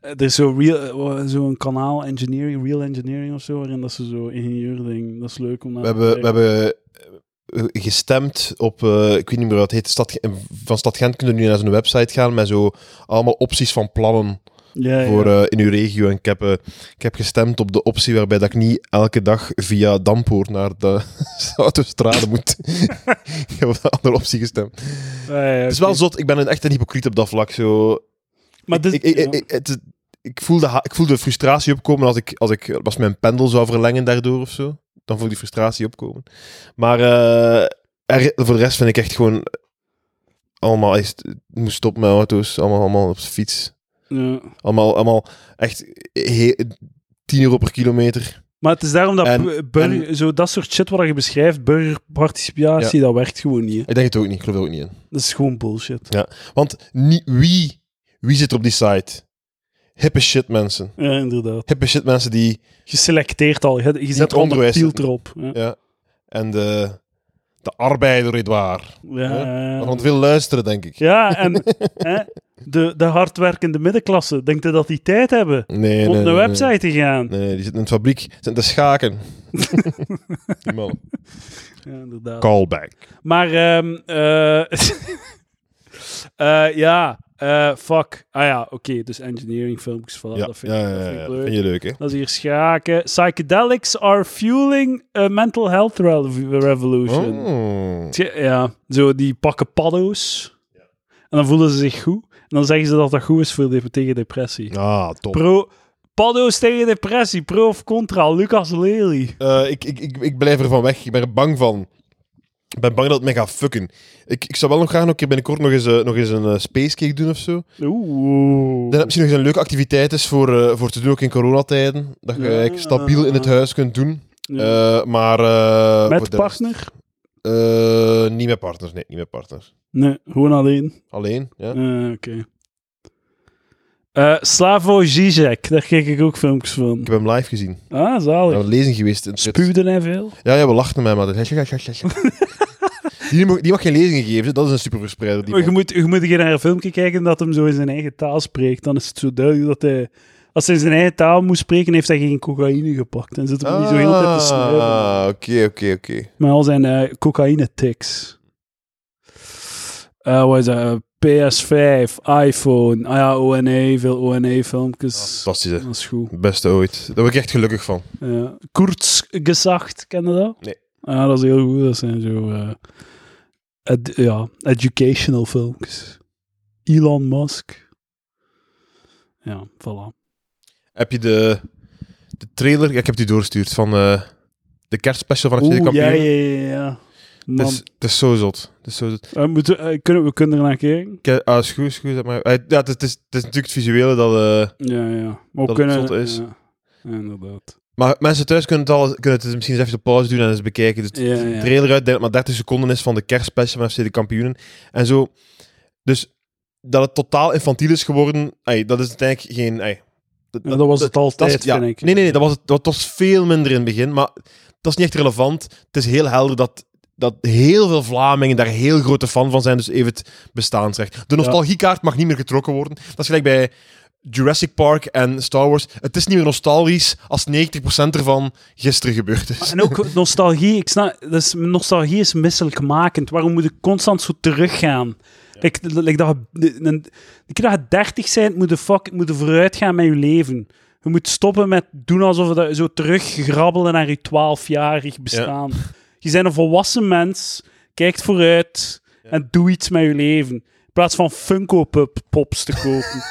Eh, Er is zo'n real, eh, wa- zo'n kanaal engineering, real engineering of zo, waarin dat ze zo ingenieurding, dat is leuk om naar We te hebben, we kijken. hebben eh, gestemd op, eh, ik weet niet meer wat het heet, Stad, Ge- van Stad Gent kunnen we nu naar zo'n website gaan met zo allemaal opties van plannen ja, ja. voor eh, in uw regio. En ik heb, eh, ik heb gestemd op de optie waarbij dat ik niet elke dag via Dampoort naar de autostrade moet. ik heb op de andere optie gestemd. Ja, ja, eh, Het is wel oké. zot, ik ben een, echt een hypocriet op dat vlak. Zo, Maar dit- ik, ik, ja. ik, ik, het, ik, voel de ha- ik voel de frustratie opkomen als ik, als ik als mijn pendel zou verlengen daardoor of zo. Dan voel ik die frustratie opkomen. Maar eh, er- voor de rest vind ik echt gewoon allemaal is het moet stoppen met auto's, allemaal, allemaal op de fiets. Ja. Allemaal, allemaal echt he- 10 euro per kilometer. Maar het is daarom dat En- bu- burger- zo dat soort shit wat je beschrijft, burgerparticipatie, dat werkt gewoon niet. hè. Ik denk het ook niet, ik geloof het ook niet in. Dat is gewoon bullshit. Want nie- wie, wie zit er op die site? Hippe shit mensen. Ja, inderdaad. Hippe shit mensen die Je selecteert al, je, je zet al een onderwijs- filter op. Ja. en de, de arbeider Edouard. Ja, ja. Want wil luisteren, denk ik. Ja, en hè, de, de hardwerkende middenklasse, denkt je dat die tijd hebben Nee, nee, om op nee, een nee. website te gaan? Nee, die zitten in de fabriek. Zitten te schaken. die man. Ja, inderdaad. Callback. Maar, ehm, eh, eh, ja, eh, fuck. Ah ja, oké, dus engineering filmpjes, voilà, ja, dat vind ik, ja, dat ja, vind ja. ik leuk. Vind je leuk, hè? Dat is hier schaken. Psychedelics are fueling a mental health re- revolution. Oh. Tje- Ja, zo die pakken paddo's. En dan voelen ze zich goed. En dan zeggen ze dat dat goed is voor de, tegen depressie. Ah, top. Pro, paddo's tegen depressie. Pro of contra, Lucas Lely. Eh, ik, ik, ik, ik blijf er van weg. Ik ben er bang van. Ik ben bang dat het mij gaat fucken. Ik, ik zou wel nog graag een keer binnenkort nog eens, eh, nog eens een eh, spacecake doen of zo. Oeh. Dan heb je misschien nog eens een leuke activiteit is voor, eh, voor te doen, ook in coronatijden. Dat je Ja. eigenlijk stabiel in het huis kunt doen. Ja. Eh, maar... eh, voor Met de rest- partner? Eh, niet met partners, nee. Niet met partners. Nee, gewoon alleen. Alleen, ja. Eh, Oké. Eh, Slavo Zizek, daar kijk ik ook filmpjes van. Ik heb hem live gezien. Ah, We zalig. hebben een lezing geweest. In het Ritz. Spuwde hij veel? Ja, ja, we lachten met hem. maar- die, mag, die mag geen lezingen geven. Dat is een superverspreider. Die Maar Oh, je man. moet, je moet een keer naar een filmpje kijken dat hem zo in zijn eigen taal spreekt. Dan is het zo duidelijk dat hij... Als hij in zijn eigen taal moest spreken, heeft hij geen cocaïne gepakt. En zit hem niet zo heel de tijd te snuiven. Ah, oké, oké, oké. Met al zijn eh, cocaïne-tics. Eh wat is dat? PS5, iPhone. Ah ja, ONE, veel ONE-filmpjes. Fantastisch, hè. dat is goed. Het beste ooit. Daar word ik echt kennen van. Ja. Kurzgesagt, ken je dat? Nee. Ja, dat is heel goed. Dat zijn zo... eh, ed- ja, educational filmpjes. Elon Musk. Ja, voilà. Heb je de, de trailer... Ja, ik heb die doorgestuurd van eh, de kerstspecial van FC de Oeh, ja, Kampioen. ja, ja. ja. Man, Het, is, het is zo zot. Het is zo zot. eh, moeten, eh, kunnen, we kunnen er naar kijken. Ik, heb- ah, is goed, is goed. Zeg maar. Eh, Ja, het, is- het is, het is natuurlijk het visuele dat... eh, Ja, ja. Maar we het kunnen... zot is. Ja, Ja, inderdaad. Maar mensen thuis kunnen het, al, kunnen het misschien eens even op pauze doen en eens bekijken. Dus Ja, de ja. trailer uit, denk dat maar 30 seconden is van de kerstspecial van FC de kampioenen. En zo. Dus dat het totaal infantiel is geworden, ey, dat is uiteindelijk geen... ey, Ja, dat was het altijd, dat is- ja. vind ik. Nee, nee, nee, dat was, het, dat was veel minder in het begin, maar dat is niet echt relevant. Het is heel helder dat, dat heel veel Vlamingen daar heel grote fan van zijn, dus even het bestaansrecht. De nostalgiekaart mag niet meer getrokken worden. Dat is gelijk bij Jurassic Park en Star Wars. Het is niet meer nostalgisch als 90% ervan gisteren gebeurd is. En ook nostalgie, ik snap, dus nostalgie is misselijkmakend. Waarom moet ik constant zo teruggaan? Kijk, like dat, je- de, een- de keer dat je 30 bent, moet je, fuck, moet je vooruitgaan met je leven. Je moet stoppen met doen alsof je zo teruggrabbelen naar je 12-jarig bestaan. Je bent een volwassen mens, kijkt vooruit en doe iets met je leven. In plaats van Funko-pops te kopen.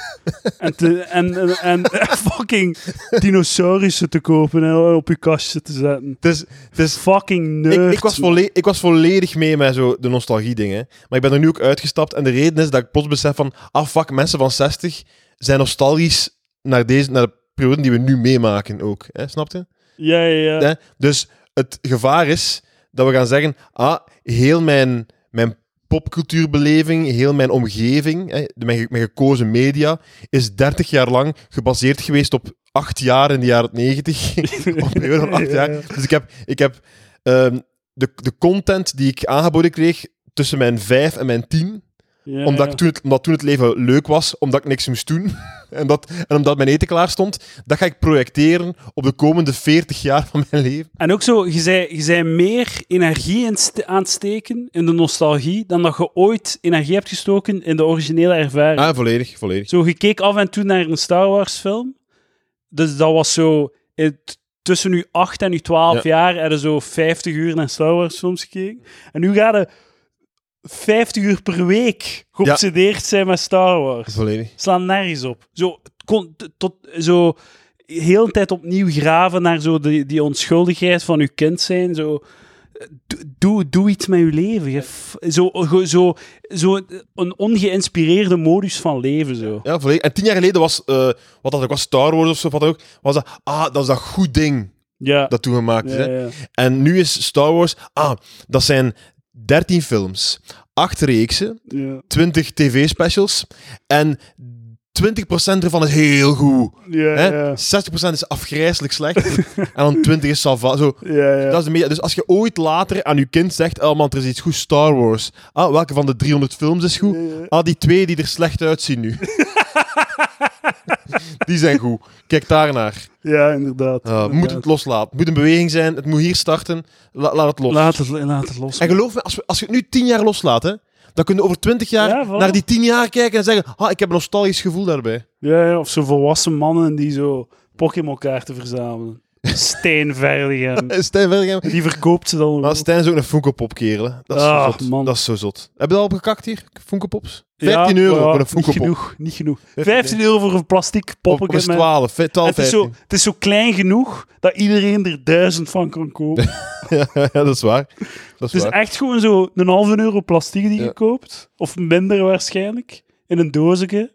En, te- en, en, en fucking dinosaurussen te kopen en op je kastje te zetten. Het is, het is, Fucking nerd. ik, ik, was volle- ik was volledig mee met zo de nostalgie-dingen. Maar ik ben er nu ook uitgestapt. En de reden is dat ik plots besef van... Ah, fuck, mensen van 60 zijn nostalgisch naar, deze, naar de periode die we nu meemaken ook. Hè, snap je? Ja, ja, ja. Hè? Dus het gevaar is dat we gaan zeggen... Ah, heel mijn, mijn popcultuurbeleving, heel mijn omgeving, hè, de- mijn, ge- mijn gekozen media, is 30 jaar lang gebaseerd geweest op acht jaar in de jaren 90. Op een periode van acht jaar. Dus ik heb, ik heb ehm, de, de content die ik aangeboden kreeg tussen mijn vijf en mijn tien. Ja, Omdat, ja. ik toen het, omdat toen het leven leuk was, omdat ik niks moest doen. en, dat, en omdat mijn eten klaar stond. Dat ga ik projecteren op de komende 40 jaar van mijn leven. En ook zo, je zei, je zei meer energie in ste- aan het steken in de nostalgie dan dat je ooit energie hebt gestoken in de originele ervaring. Ah, volledig, volledig. Zo, je keek af en toe naar een Star Wars film. Dus dat was zo... het- tussen nu 8 en nu 12 jaar hadden zo 50 uur naar Star Wars films gekeken. En nu gaan er 50 uur per week geobsedeerd zijn met Star Wars. Volledig. Slaan nergens op. Zo, het kon, t- tot, zo heel de tijd opnieuw graven naar zo die, die onschuldigheid van uw kind zijn. Zo, doe, doe, doe iets met uw leven. Je f- Zo, ge- zo, zo een ongeïnspireerde modus van leven. Zo. Ja, volledig. En tien jaar geleden was, eh, wat dat ook was, Star Wars of zo, wat dat ook, was dat, ah, dat is dat goed ding Ja. dat toen gemaakt is. ja, hè. ja. En nu is Star Wars, ah, dat zijn 13 films, 8 reeksen, Ja. 20 tv-specials en 20% ervan is heel goed. Ja, Hè? ja. 60% is afgrijzelijk slecht en dan 20 is salva. Zo, Ja, ja. dat is de media. Dus als je ooit later aan je kind zegt, oh man, er is iets goed, Star Wars. Ah, welke van de 300 films is goed? Ja, ja. Ah, die twee die er slecht uitzien nu. die zijn goed. Kijk daarnaar. Ja, inderdaad. Eh moet het loslaten. Het moet een beweging zijn. Het moet hier starten. La- laat het los. Laat het, laat het los. En geloof me, als, we, als je het nu tien jaar loslaat, hè, dan kun je over twintig jaar Ja, voilà. naar die tien jaar kijken en zeggen, ah, ik heb een nostalgisch gevoel daarbij. Ja, ja, of zo volwassen mannen die zo Pokémon-kaarten verzamelen. Stijn Verligen. Eh, Stijn Vergem. Die verkoopt ze dan. Maar Stijn is ook een Funko Pop kerel. hè. Dat is Ah, zo zot. man. Dat is zo zot. Heb je al opgekakt hier? Funko Pops? Ja, 15 euro ja, voor een Funko Niet Pop. genoeg, niet genoeg. 15 euro voor een plastic Of op poppetje. een met- 12, hè, 12, Het is, zo, 15. het is zo klein genoeg dat iedereen er duizend van kan kopen. Ja, dat is waar. Dat is Het is waar. echt gewoon zo een halve euro plastic die je Ja. koopt. Of minder waarschijnlijk. In een doosje.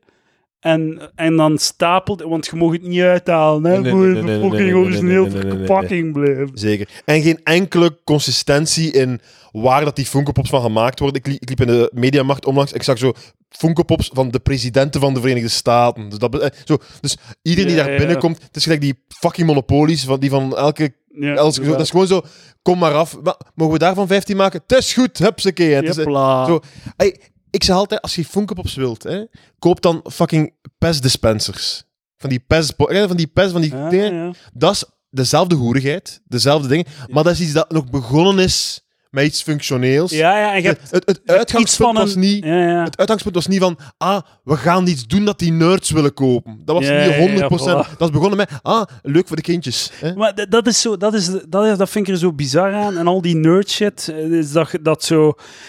En, en dan stapelt... Want je mag het niet uithalen, hè. Nee, nee, voor nee, de nee, nee, fucking nee, nee, origineel nee, nee, nee, nee, verpakking blijven. Zeker. En geen enkele consistentie in waar dat die Funko Pops van gemaakt worden. Ik, li- ik liep in de mediamarkt onlangs, ik zag zo Funko Pops van de presidenten van de Verenigde Staten. Dus, dat, be- eh, zo, dus iedereen Ja, die daar ja, ja. binnenkomt, het is gelijk die fucking monopolies van, die van elke... Ja, elke dat is gewoon zo, kom maar af. Maar, mogen we daarvan 15 maken? Het is goed, hupsakee. Het is, eh, Jepla. zo. Ey, ik zeg altijd, als je Funko Pops wilt, hè, koop dan fucking PES dispensers. Van die PES, bo- eh, van die PES, van die Ah, dingen. ja. Dat is dezelfde hoerigheid, dezelfde dingen, maar dat is iets dat nog begonnen is met iets functioneels. ja, ja, en je hebt het, het iets van uitgangspunt een... was niet... Ja, ja. Het uitgangspunt was niet van, ah, we gaan iets doen dat die nerds willen kopen. Dat was Ja, ja, ja, niet 100%. voilà. Dat is begonnen met, ah, leuk voor de kindjes. Hè? Maar d- dat is zo, dat, is, dat, is, dat vind ik er zo bizar aan. En al die nerd shit, eh, is dat, ge- dat zo,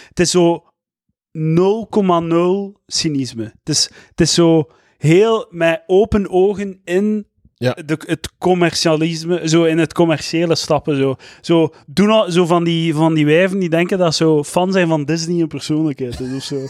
het is zo 0,0 cynisme. Het is, het is zo heel met open ogen in Ja. de, het commercialisme, zo in het commerciële stappen. Zo, zo, doen al, zo van, die, van die wijven die denken dat ze zo fan zijn van Disney en persoonlijkheid is of zo.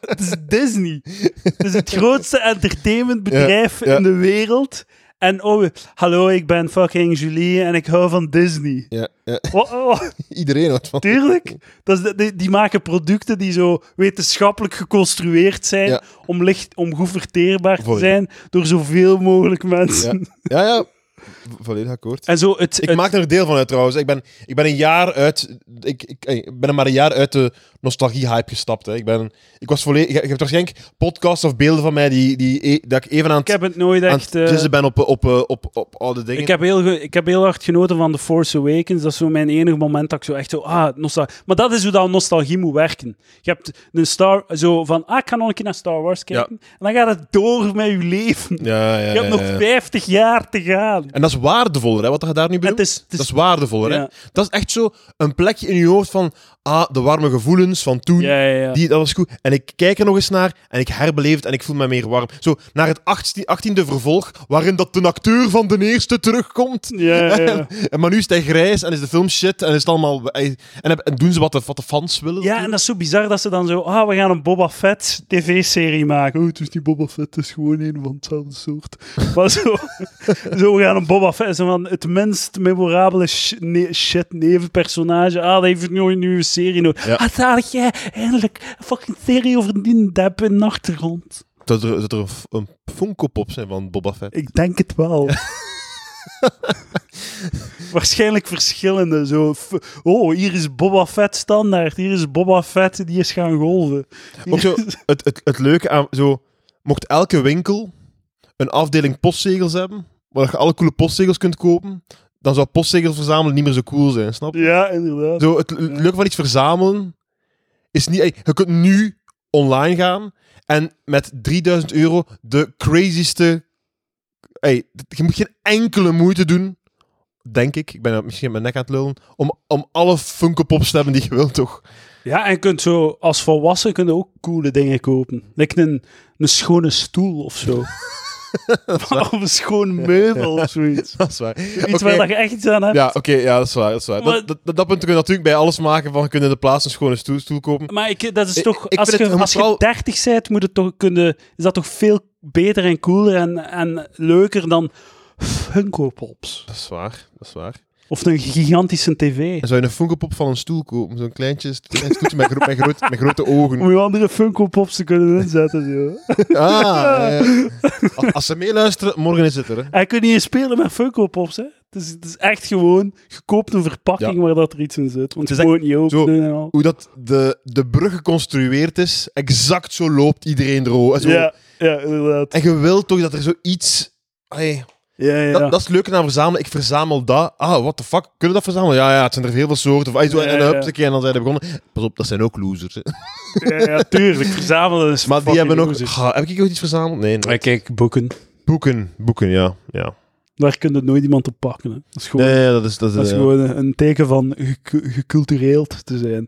het is Disney. Het is het grootste entertainmentbedrijf Ja, ja. in de wereld. En oh, hallo, ik ben fucking Julie en ik hou van Disney. Ja, ja, Oh, oh, iedereen houdt van. tuurlijk. Dat is de- die, die maken producten die zo wetenschappelijk geconstrueerd zijn Ja. om, licht, om goed verteerbaar te Volledig. zijn door zoveel mogelijk Ja, mensen. ja, ja. Vo- volledig akkoord. En zo het, Ik het- maak er deel van uit trouwens. Ik ben, ik ben een jaar uit. Ik, ik, ik ben er maar een jaar uit de nostalgie-hype gestapt. Hè. Ik, ben, ik was volledig. Je hebt waarschijnlijk podcasts of beelden van mij die, die, e- dat ik even aan ik het, heb het nooit aan echt... het eh, jizzen ben op, op, op, op, op oude dingen. Ik heb, heel ge- ik heb heel hard genoten van The Force Awakens. Dat is zo mijn enige moment dat ik zo echt zo... Ah, nostalgie. Maar dat is hoe dat nostalgie moet werken. Je hebt een Star... Zo van, ah, ik ga nog een keer naar Star Wars kijken. En dan gaat het door met je leven. ja, ja, Je hebt ja, nog ja. 50 jaar te gaan. En dat is waardevoller, hè, wat je daar nu benoemt. Het is, het is- Dat is waardevoller. Ja. Hè? Dat is echt zo een plekje in je hoofd van. Ah, de warme gevoelens van toen. ja, ja, ja. Die, dat was goed. En ik kijk er nog eens naar en ik herbeleef het en ik voel me meer warm. Zo, naar het 18e, 18e vervolg, waarin dat de acteur van de eerste terugkomt. Ja, ja, ja. En maar nu is hij grijs en is de film shit en is het allemaal... En, heb- en doen ze wat de, wat de fans willen. Ja, en dat is zo bizar dat ze dan zo... Ah, we gaan een Boba Fett tv-serie maken. Oh, het is niet Boba Fett, het is gewoon een van hetzelfde soort. maar zo, zo, we gaan een Boba Fett... Zo van het minst memorabele sh- ne- shit-nevenpersonage. Ah, dat heeft nooit een nieuwe serie nodig. Ja. Ah, zalig jij eindelijk een fucking serie over die dep in de achtergrond. Zou er, zou er een, f- een Funko Pop zijn van Boba Fett? Ik denk het wel. Waarschijnlijk verschillende. Zo, f- oh, hier is Boba Fett standaard. Hier is Boba Fett, die is gaan golven. Hier Ook zo- is- Het, het, het leuke aan... Zo, mocht elke winkel een afdeling postzegels hebben, waar je alle coole postzegels kunt kopen, dan zou postzegels verzamelen niet meer zo cool zijn, snap je? Ja, inderdaad. Zo, het l- leuke van iets verzamelen is niet... ey, Je kunt nu online gaan en met 3000 euro de crazyste... ey, d- je moet geen enkele moeite doen, denk ik. Ik ben daar misschien met mijn nek aan het lullen. Om, om alle Funko Pops te hebben die je wilt, toch? Ja, en je kunt zo, als volwassen kun je ook coole dingen kopen. Like een, een schone stoel of zo. of een schoon meubel of zoiets. Dat is waar. Iets Oké. waar dat je echt iets aan hebt. Ja, oké, ja, dat is waar. Dat, is waar. Maar- Dat, dat, dat, dat punt kun je natuurlijk bij alles maken van, kun je in de plaats een schone stoel, stoel kopen? Maar ik, dat is Ik- toch, ik als, vind je, het- je moet als je vooral- 30 bent, moet het toch kunnen, is dat toch veel beter en cooler en, en leuker dan Funko Pops. Dat is waar, dat is waar. Of een gigantische tv. En zou je een Funko Pop van een stoel kopen? Zo'n kleintje, klein stoeltje met, gro- met, groot, met grote ogen. Om je andere Funko Pops te kunnen inzetten. Joh. Ah, eh, als- Als ze meeluisteren, morgen is het er. Hè. En je kunt niet eens spelen met Funko Pops. Hè. Het, is, het is echt gewoon, je koopt een verpakking Ja. waar dat er iets in zit. Want Het is je echt moet het niet openen en al. Hoe dat de, de brug geconstrueerd is, exact zo loopt iedereen er zo. Ja, ja, inderdaad. En je wilt toch dat er zoiets... Allee, Ja, ja, ja. dat, dat is het leuke aan verzamelen. Ik verzamel dat. Ah, what the fuck? Kunnen we dat verzamelen? Ja, ja, het zijn er heel veel soorten. Of, ah, zo, en, en, Ja, ja. hup, en dan zijn we begonnen. Pas op, dat zijn ook losers. hè. ja, ja, tuurlijk. Verzamelen is Maar die fucking hebben nog... loser. Ah, heb ik ook iets verzameld? Nee. nee. Maar kijk, boeken. Boeken. Boeken, ja. ja. Daar kun je nooit iemand op pakken. Hè. Dat is gewoon... Nee, nee, dat is... Dat is, Dat is eh, gewoon een een teken van ge- gecultureerd te zijn.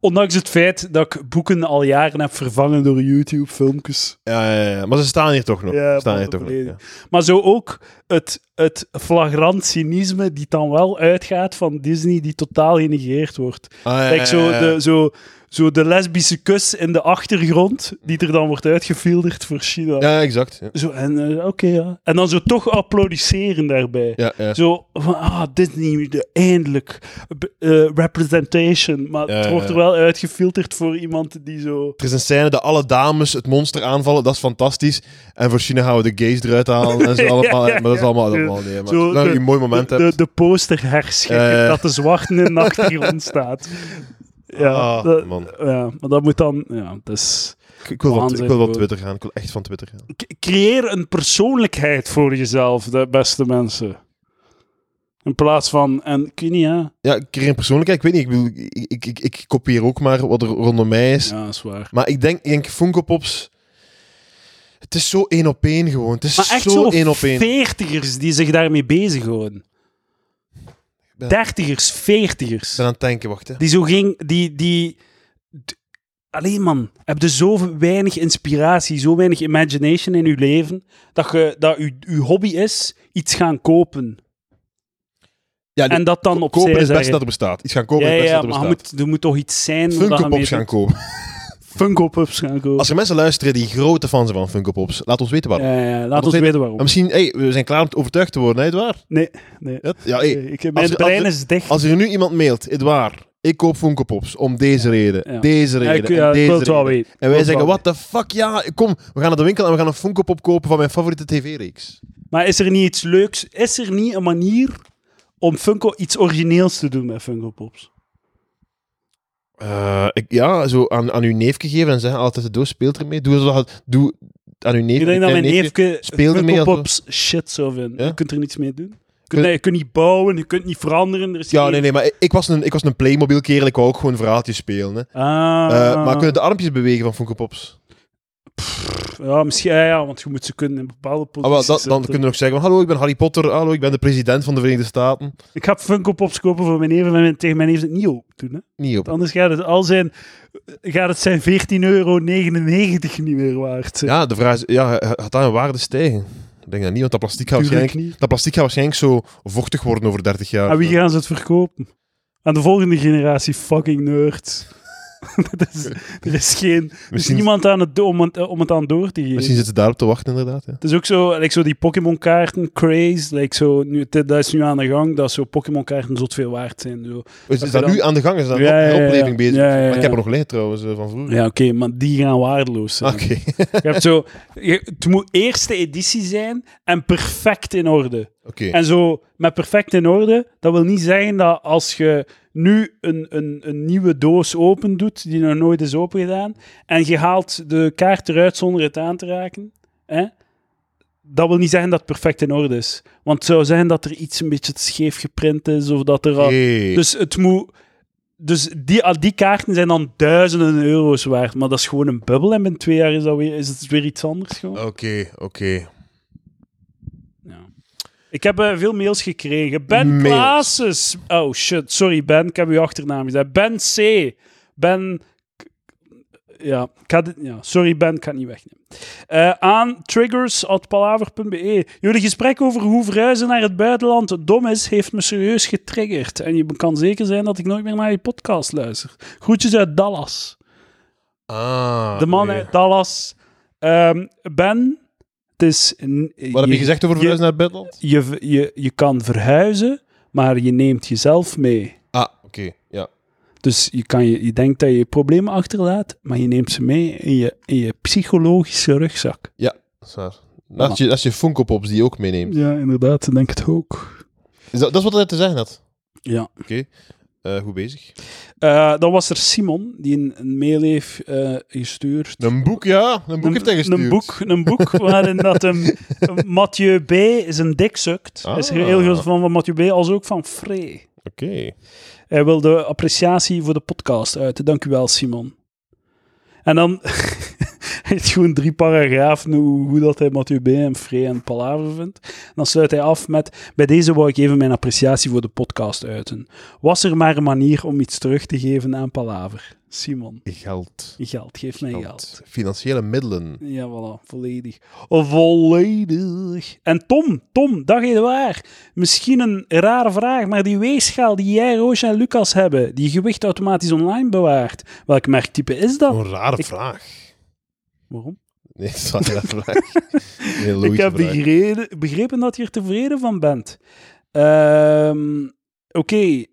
Ondanks het feit dat ik boeken al jaren heb vervangen door YouTube-filmpjes. ja, ja, ja. Maar ze staan hier toch nog. Ja, Ze staan hier want toch nog. volledig. Ja. Maar zo ook het, het flagrant cynisme die dan wel uitgaat van Disney, die totaal genegeerd wordt. Ah, ja, Kijk, zo ja, ja, ja. de, zo, zo de lesbische kus in de achtergrond, die er dan wordt uitgefilderd voor China. Ja, exact. Ja, Zo, en eh, oké, ja. En dan zo toch applaudisseren daarbij. ja. ja. Zo van, ah, Disney, de- eindelijk. B- eh, representation. Maar Ja, het wordt er ja. wel uitgefilterd voor iemand die zo... Er is een scène dat alle dames het monster aanvallen. Dat is fantastisch. En voor China gaan we de gays eruit halen. En zo Ja, allemaal. ja, Maar dat is ja. allemaal... allemaal nee, maar Zo zolang je de- een mooi moment De, hebt. de, de poster herschikken, Ja, ja. dat de zwarten in de achtergrond staat. Ja, Ah, dat- man. ja, maar dat moet dan... Ja, dus Ik, ik wil van, ik Waanzin, wil van gewoon. Twitter gaan. Ik wil echt van Twitter gaan. C- creëer een persoonlijkheid voor jezelf, de beste mensen. In plaats van... En ik weet niet, hè. Ja, ik creëer een persoonlijkheid. Ik weet niet. Ik, bedoel, ik, ik, ik, ik kopieer ook maar wat er rondom mij is. Ja, dat is waar. Maar ik denk, ik denk Funko Pops... Het is zo één op één gewoon. Het is Maar echt zo zo één op één. veertigers die zich daarmee bezighouden. ben- Dertigers, veertigers. Ik ben aan het denken, wacht hè. Die zo ging... Die, die... d- Allee man, heb je zo weinig inspiratie, zo weinig imagination in je leven, dat je dat je, je hobby is iets gaan kopen. Ja, En dat dan ko- opzij Kopen is het beste zeggen. dat er bestaat. Iets gaan kopen ja, is het beste ja, dat maar er er bestaat. moet, er moet toch iets zijn... waar Funko je mee Pops gaan doet. kopen. Funko Pops gaan kopen. Als er mensen luisteren die grote fans zijn van Funko Pops, laat ons weten waarom. Ja, ja, ons laat, ons weten- weten waarom. Maar misschien, hey, we zijn klaar om te overtuigd te worden, hè, Edouard? Nee, nee. Ja, Ja, hey, Ik- mijn als je- brein als is dicht. Als er nu iemand mailt, Edouard, ik koop Funko Pops om deze reden, Ja. deze Ja, reden, ik, ja, en ik deze wil het wel reden. weten. En Ik wil wij het zeggen, wel what the fuck, ja, kom, we gaan naar de winkel en we gaan een Funko Pop kopen van mijn favoriete tv-reeks. Maar is er niet iets leuks? Is er niet een manier om Funko iets origineels te doen met Funko Pops? Eh, ik, ja, zo aan, aan uw neefje geven en zeggen, altijd de doos speelt ermee. Doe, alsof dat- doe aan uw neef. Ik denk dat klein mijn neefje speel ermee Funko als- Pops shit zou vinden. Ja? Je kunt er niets mee doen. Je Kun- kunt, nee, je kunt niet bouwen, je kunt niet veranderen. Er is Ja, geen- nee, nee, maar ik- ik was een, ik was een Playmobil kerel, ik wou ook gewoon verhaaltjes spelen. Hè. Ah, Eh, maar kunnen de armpjes bewegen van Funko Pops? ja, misschien, ja, ja, want je moet ze kunnen in bepaalde Ah, posities wel, dat, dan zetten. kunnen we nog zeggen, van, hallo, ik ben Harry Potter, hallo, ik ben de president van de Verenigde Staten. Ik ga Funko Pops kopen voor mijn neef en mijn- tegen mijn neef het niet op doen. Hè? Niet op. Want Anders gaat het al zijn, gaat het zijn 14,99 euro niet meer waard zijn. Ja, de vraag is, ja, gaat dat in waarde stijgen? Ik denk dat niet, want dat plastic gaat Tuurlijk Ah, waarschijnlijk, niet. dat plastic gaat waarschijnlijk zo vochtig worden over 30 jaar. Aan wie gaan ze het verkopen? Aan de volgende generatie fucking nerds. dat is, er is geen... er is Misschien- niemand aan het, do- om, het, om het aan door te geven. Misschien zitten ze daarop te wachten, inderdaad. Ja. Het is ook zo, like zo die Pokémon-kaarten craze. Like zo, nu, dit- dat is nu aan de gang dat zo Pokémon-kaarten zot veel waard zijn. Zo. Is, je is dat dan- nu aan de gang? Is dat Ja, nog een ja, ja. opleving bezig? Ja, ja, ja. Maar ik heb er nog liggen trouwens eh, van vroeger. Ja, oké, maar die gaan waardeloos zijn. Oké. Je hebt zo, je- het moet eerste editie zijn en perfect in orde. Oké. En zo met perfect in orde, dat wil niet zeggen dat als je nu een, een, een nieuwe doos open doet, die nog nooit is opengedaan, en je haalt de kaart eruit zonder het aan te raken, hè, dat wil niet zeggen dat het perfect in orde is. Want het zou zijn dat er iets een beetje te scheef geprint is, of dat er al... Oké. Dus het moet... Dus die, al die kaarten zijn dan duizenden euro's waard, maar dat is gewoon een bubbel en binnen twee jaar is, dat weer, is het weer iets anders gewoon. Oké, oké. Ja. Ik heb eh, veel mails gekregen. Ben Mails. Klaases. Oh shit, sorry Ben, ik heb uw achternaam gezegd. Ben C. Ben. Ja, ik ga dit- ja, sorry Ben, ik kan het niet wegnemen. Eh, aan triggers.palaver.be. e. Jullie gesprek over hoe verhuizen naar het buitenland dom is, heeft me serieus getriggerd. En je kan zeker zijn dat ik nooit meer naar je podcast luister. Groetjes uit Dallas. Ah. De man oké. uit Dallas. Ehm, ben, het is... Wat heb je gezegd over je- verhuizen naar het buitenland? je, je, je kan verhuizen, maar je neemt jezelf mee. Ah, oké. Ja. Dus je, kan je, je denkt dat je je problemen achterlaat, maar je neemt ze mee in je, in je psychologische rugzak. Dat is waar. Dat is je, dat is je Funko Pops die je ook meeneemt. Ja, inderdaad, ik denk het ook. Is dat, dat is wat hij te zeggen had. Ja. Eh, goed bezig. Eh, dan was er Simon, die een, een mail heeft eh, gestuurd. Een boek, ja. Een boek heeft hij gestuurd. Een boek, een boek waarin dat hem, Mathieu B. is een dik sukt. Hij is Ah. er heel groot van, van Mathieu B. als ook van Frey. Oké. Hij wil de appreciatie voor de podcast uiten. Dank u wel, Simon. En dan hij heeft gewoon drie paragrafen hoe, hoe dat hij Mathieu B. en Frey en Palaver vindt. En dan sluit hij af met... Bij deze wou ik even mijn appreciatie voor de podcast uiten. Was er maar een manier om iets terug te geven aan Palaver? Simon, Geld. geld. Geef mij geld. Financiële middelen. Ja, voilà. Volledig. Volledig. En Tom, Tom, dag waar. Misschien een rare vraag, maar die weegschaal die jij, Roos en Lucas hebben, die je gewicht automatisch online bewaart, welk merktype is dat? Een rare Ik- vraag. Waarom? Nee, dat is wel een rare vraag. Een heel Ik logische heb vraag. begrepen, begrepen dat je er tevreden van bent. Ehm, Oké.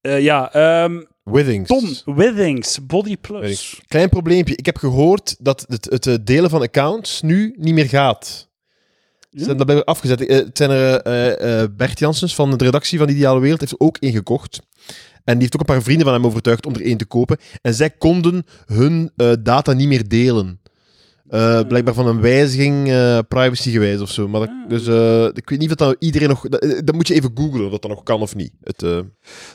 Eh, ja, ehm, Withings. Tom, Withings, Body Plus. Withings. Dus- Klein probleempje. Ik heb gehoord dat het, het eh, delen van accounts nu niet meer gaat. Ze hebben dat blijkbaar afgezet. Eh, Het zijn er, eh, eh, Bert Janssens van de redactie van Ideale Wereld heeft er ook ingekocht. En die heeft ook een paar vrienden van hem overtuigd om er één te kopen. En zij konden hun eh, data niet meer delen. Eh, blijkbaar van een wijziging, eh privacygewijs of zo. Maar dat- Ah. dus eh, ik weet niet of dat nou iedereen nog... Dat, eh, dat moet je even googlen of dat dat nog kan of niet. Het, eh,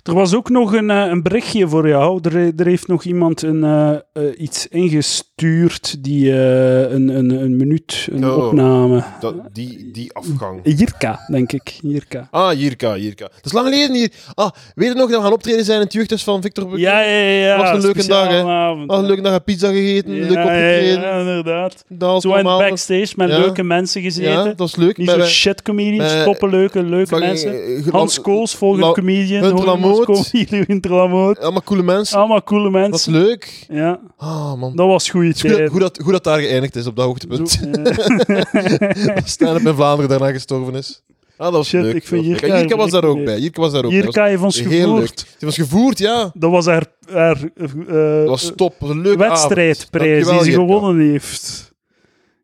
Er was ook nog een, eh, een berichtje voor jou. Er, er heeft nog iemand een, eh, eh, iets ingestuurd, die, eh, een, een, een minuut, een Oh. opname. dat, die, die afgang. Jirka, denk ik. Jirka. Ah, Jirka, Jirka. Dat is lang geleden hier. Ah, weet je nog dat we gaan optreden zijn in het jeugdhuis van Victor Buk- Ja, ja, ja. ja. Was een leuke Speciaal dag, hè? avond. Ah, leuk, dag pizza gegeten, Ja, leuk opgetreden. Ja, ja, inderdaad. Dat is Zo in normaal. backstage met Ja. leuke mensen Ja, gezeten. dat is leuk. Niet Met- zo met- shit comedians, met- eh, stoppen leuke, leuke fucking, mensen. eh, ge- Hans al- Kools, volgende La- comedian. Hunter Hoor Lamoot. Hans Comedian, Hunter Lamoot. Allemaal coole mensen. Allemaal coole Dat is mensen. leuk. Ja, Ah, man. dat was goede Het is goed dat- tijd. Hoe dat, hoe dat daar geëindigd is op dat hoogtepunt. Zo, eh. Staan op in Vlaanderen daarna gestorven is. Ah, dat was Shit, leuk. ik vind dat was leuk. Jirka En Jirka was daar ook leuk. bij. Jirka was daar ook bij. Jirka heeft ons Dat was heel leuk. gevoerd. Eh, Die was gevoerd, ja. Dat was haar, haar eh, eh, Dat was top. Dat was een leuke avond. wedstrijdprijs Dankjewel, die ze Jirka. gewonnen heeft.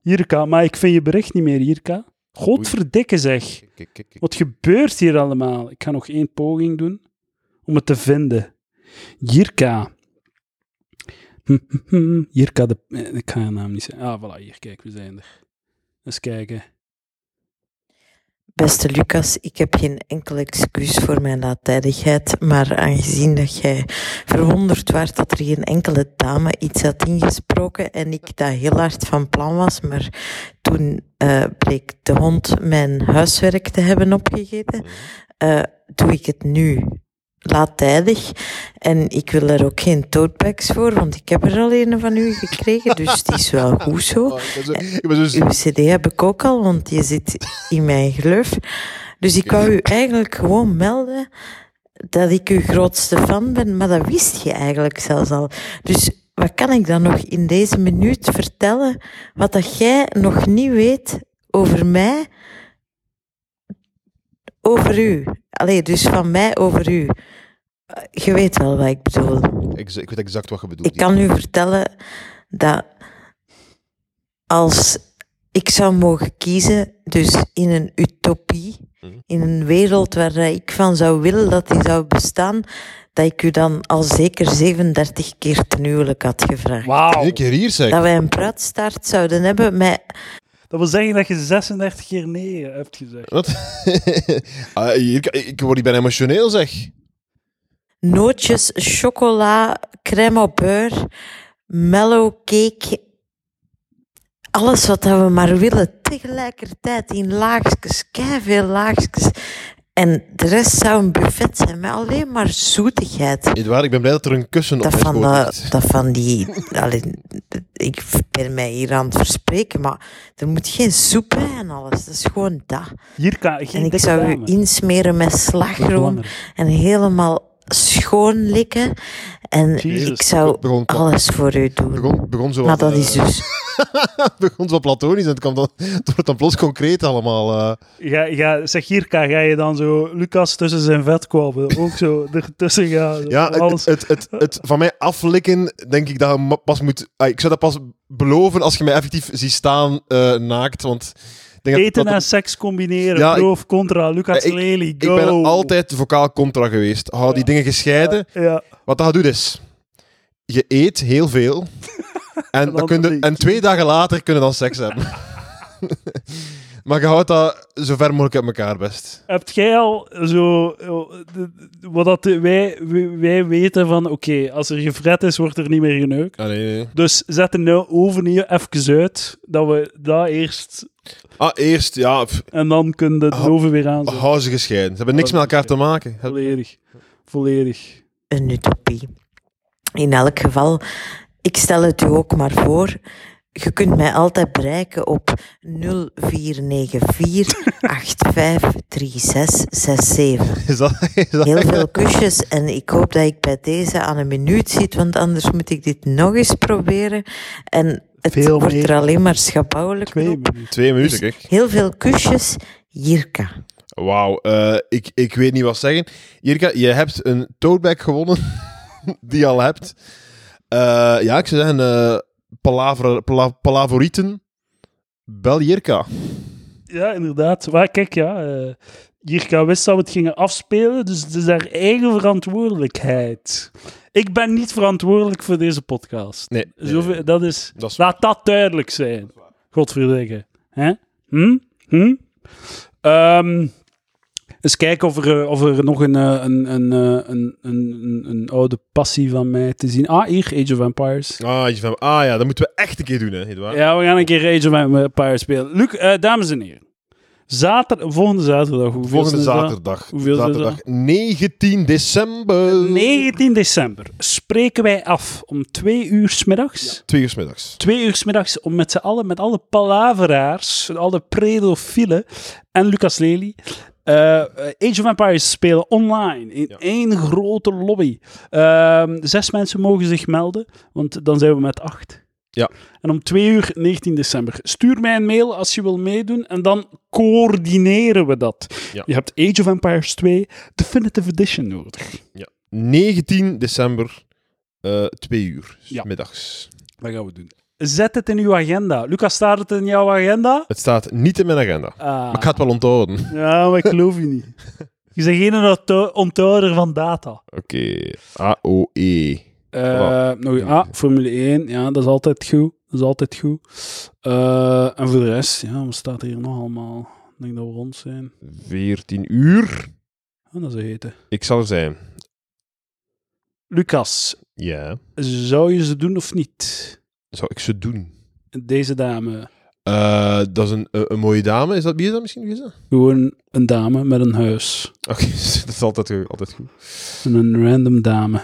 Jirka, maar ik vind je bericht niet meer, Jirka. Godverdikke zeg. Kijk, kijk, kijk, kijk. Wat gebeurt hier allemaal? Ik ga nog één poging doen om het te vinden. Jirka. Jirka de... eh, Ik ga haar naam niet zeggen. Ah, voilà, hier, kijk, we zijn er. Eens kijken. Beste Lucas, ik heb geen enkel excuus voor mijn laattijdigheid, maar aangezien dat jij verwonderd werd dat er geen enkele dame iets had ingesproken en ik dat heel hard van plan was, maar toen eh, bleek de hond mijn huiswerk te hebben opgegeten, eh, doe ik het nu laattijdig. En ik wil er ook geen totebags voor, want ik heb er al een van u gekregen, dus het is wel goed zo. Oh, ik ben zo- ik ben zo Uw CD heb ik ook al, want die zit in mijn gleuf. Dus ik wou u eigenlijk gewoon melden dat ik uw grootste fan ben, maar dat wist je eigenlijk zelfs al. Dus wat kan ik dan nog in deze minuut vertellen wat dat jij nog niet weet over mij, over u? Allee, dus van mij over u. Eh, Je weet wel wat ik bedoel. Ik, ik weet exact wat je bedoelt. Ik kan u vertellen dat als ik zou mogen kiezen, dus in een utopie, Mhm. in een wereld waar eh, ik van zou willen dat die zou bestaan, dat ik u dan al zeker 37 keer ten huwelijk had gevraagd. Wauw. Een keer hier zeg. Dat wij een praatstaart zouden hebben met... Dat wil zeggen dat je 36 keer nee hebt gezegd. Wat? Ah, hier- ik word hier bijna emotioneel zeg. nootjes, chocola, crème au beurre, mellow cake. Alles wat dat we maar willen, tegelijkertijd in laagjes, veel laagjes. En de rest zou een buffet zijn met alleen maar zoetigheid. Edouard, ik ben blij dat er een kussen op Dat is. van, eh, dat, gehoord. dat van die... allee, ik ben mij hier aan het verspreken, maar er moet geen soep bij en alles. Dat is gewoon dat. Hier kan geen En ik dikke zou u dame. insmeren met slagroom Belangrijk. en helemaal schoon likken. En Jezus, ik zou begon te- alles voor u doen. Begon, begon zo Maar wat, dat eh, is dus... begon zo platonisch en het, kwam dan, het wordt dan plots concreet allemaal. eh. Ja, ja, zeg Jirka, ga je dan zo Lucas tussen zijn vet kwabbelen? Ook zo ertussen gaan. zo, Ja, het, alles. het, het, het van mij aflikken, denk ik dat je ma- pas moet... ah, ik zou dat pas beloven als je mij effectief ziet staan eh, naakt, want... ik Denk dat- Eten dat, en seks combineren, Ja, Eh, pro of contra, Lucas ik- Lely, Ik go. ben altijd vocaal contra geweest. Hou die dingen gescheiden. Ja, Wat dat gaat doen is, je eet heel veel. En, dan dan kun je, drink en je. twee dagen later kunnen dan seks hebben. maar je houdt dat zo ver mogelijk uit elkaar best. Hebt jij al zo... eh, de- de- Wat dat de- wij, wij- wij weten van, oké, als er gefret is, wordt er niet meer geneukt. Ah, nee, nee. Dus zet de nou oven hier even uit, dat we dat eerst... ah eerst, ja, pff, En dan kunnen de Ho- oven weer aanzetten. hou ze gescheiden. Ze hebben niks met elkaar te maken. Het- Volledig. Volledig. een utopie. In elk geval, ik stel het u ook maar voor. Je kunt mij altijd bereiken op 0494 853667. Is dat, is dat Heel veel kusjes en ik hoop dat ik bij deze aan een minuut zit, want anders moet ik dit nog eens proberen. En het Veel wordt er meer. alleen maar schabouwelijk Twee op. minuten. twee minuten, kijk. Heel veel kusjes, Jirka. Wauw, eh, ik, ik weet niet wat zeggen. Jirka, je hebt een toadbag gewonnen, die je al hebt. Eh, ja, ik zou zeggen, eh palaver, pala- palavorieten, bel Jirka. Ja, inderdaad. Maar kijk, ja... eh, Jirka wist dat we het gingen afspelen, dus het is haar eigen verantwoordelijkheid. Ik ben niet verantwoordelijk voor deze podcast. Nee, nee, Zoveel- nee. dat is, Dat is- Laat dat duidelijk zijn. Godverdikke. Hè? Hm? Hm? Ehm, eens kijken of er, eh, of er nog een, eh, een, een, eh, een, een, een, een oude passie van mij te zien... Ah, hier, Age of Empires. Ah, je van- ah ja, dat moeten we echt een keer doen, hè, Edouard? Ja, we gaan een keer Age of Empires spelen. Luc, eh, dames en heren. Zater volgende zaterdag. hoeveel Volgende is dat? zaterdag. Hoeveel is dat? zaterdag 19 december. 19 december spreken wij af om twee uur smiddags. Twee uur 's middags. twee uur 's middags om met z'n allen, met alle palaveraars, alle predofielen en Lucas Lely. eh, eh, Age of Empires spelen online in Ja. één grote lobby. Ehm, zes mensen mogen zich melden, want dan zijn we met acht. Ja. En om twee uur 19 december. Stuur mij een mail als je wil meedoen en dan coördineren we dat. Ja. Je hebt Age of Empires 2 Definitive Edition nodig. 19 december, eh twee uur 's Ja. middags. Dat gaan we doen. Zet het in uw agenda. Lucas, staat het in jouw agenda? Het staat niet in mijn agenda. Ah. Maar ik ga het wel onthouden. Oké. Ja, maar ik geloof je niet. Je bent geen onthou- onthouder van data. AOE. Voilà. Eh, nog, ah, Formule 1, ja, dat is altijd goed. Dat is altijd goed. Eh, en voor de rest, ja, wat staat hier nog allemaal? Ik denk dat we rond zijn. 14 uur. Ah, dat is heten. Ik zal er zijn. Lucas, Ja. zou je ze doen of niet? Zou ik ze doen? Deze dame. Eh, dat is een, een, een mooie dame. Is dat, wie is dat misschien? Wie is dat? Gewoon een dame met een huis. Oké, dat is altijd, goed, altijd goed. En een random dame.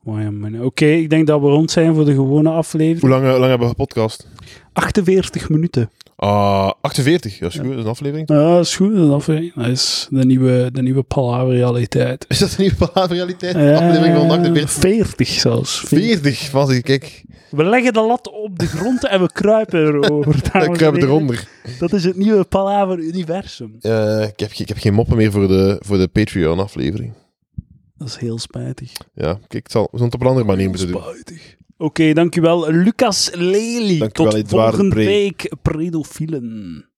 Wait a minute. Oké, ik denk dat we rond zijn voor de gewone aflevering. Hoe lang, eh, lang hebben we gepodcast? 48 minuten. Ah, 48, dat is goed, dat is een aflevering. Ja, dat is goed. Dat is, aflevering. dat is de nieuwe, de nieuwe palaver-realiteit. Is dat een nieuwe palaverrealiteit? Eh, aflevering van 48. 40 zelfs. 40, was ik, kijk. We leggen de lat op de grond en we kruipen erover. dames Dan en kruipen we heren. eronder. Dat is het nieuwe palaver-universum. Eh, ik, heb, ge- ik heb geen moppen meer voor de, voor de Patreon-aflevering. Dat is heel spijtig. Ja, kijk, het zal, we zullen het op een andere manier moeten doen. Spijtig. Oké, dankjewel Lucas Lely. Dankjewel, Tot Edouard volgende Pre. week, predofielen.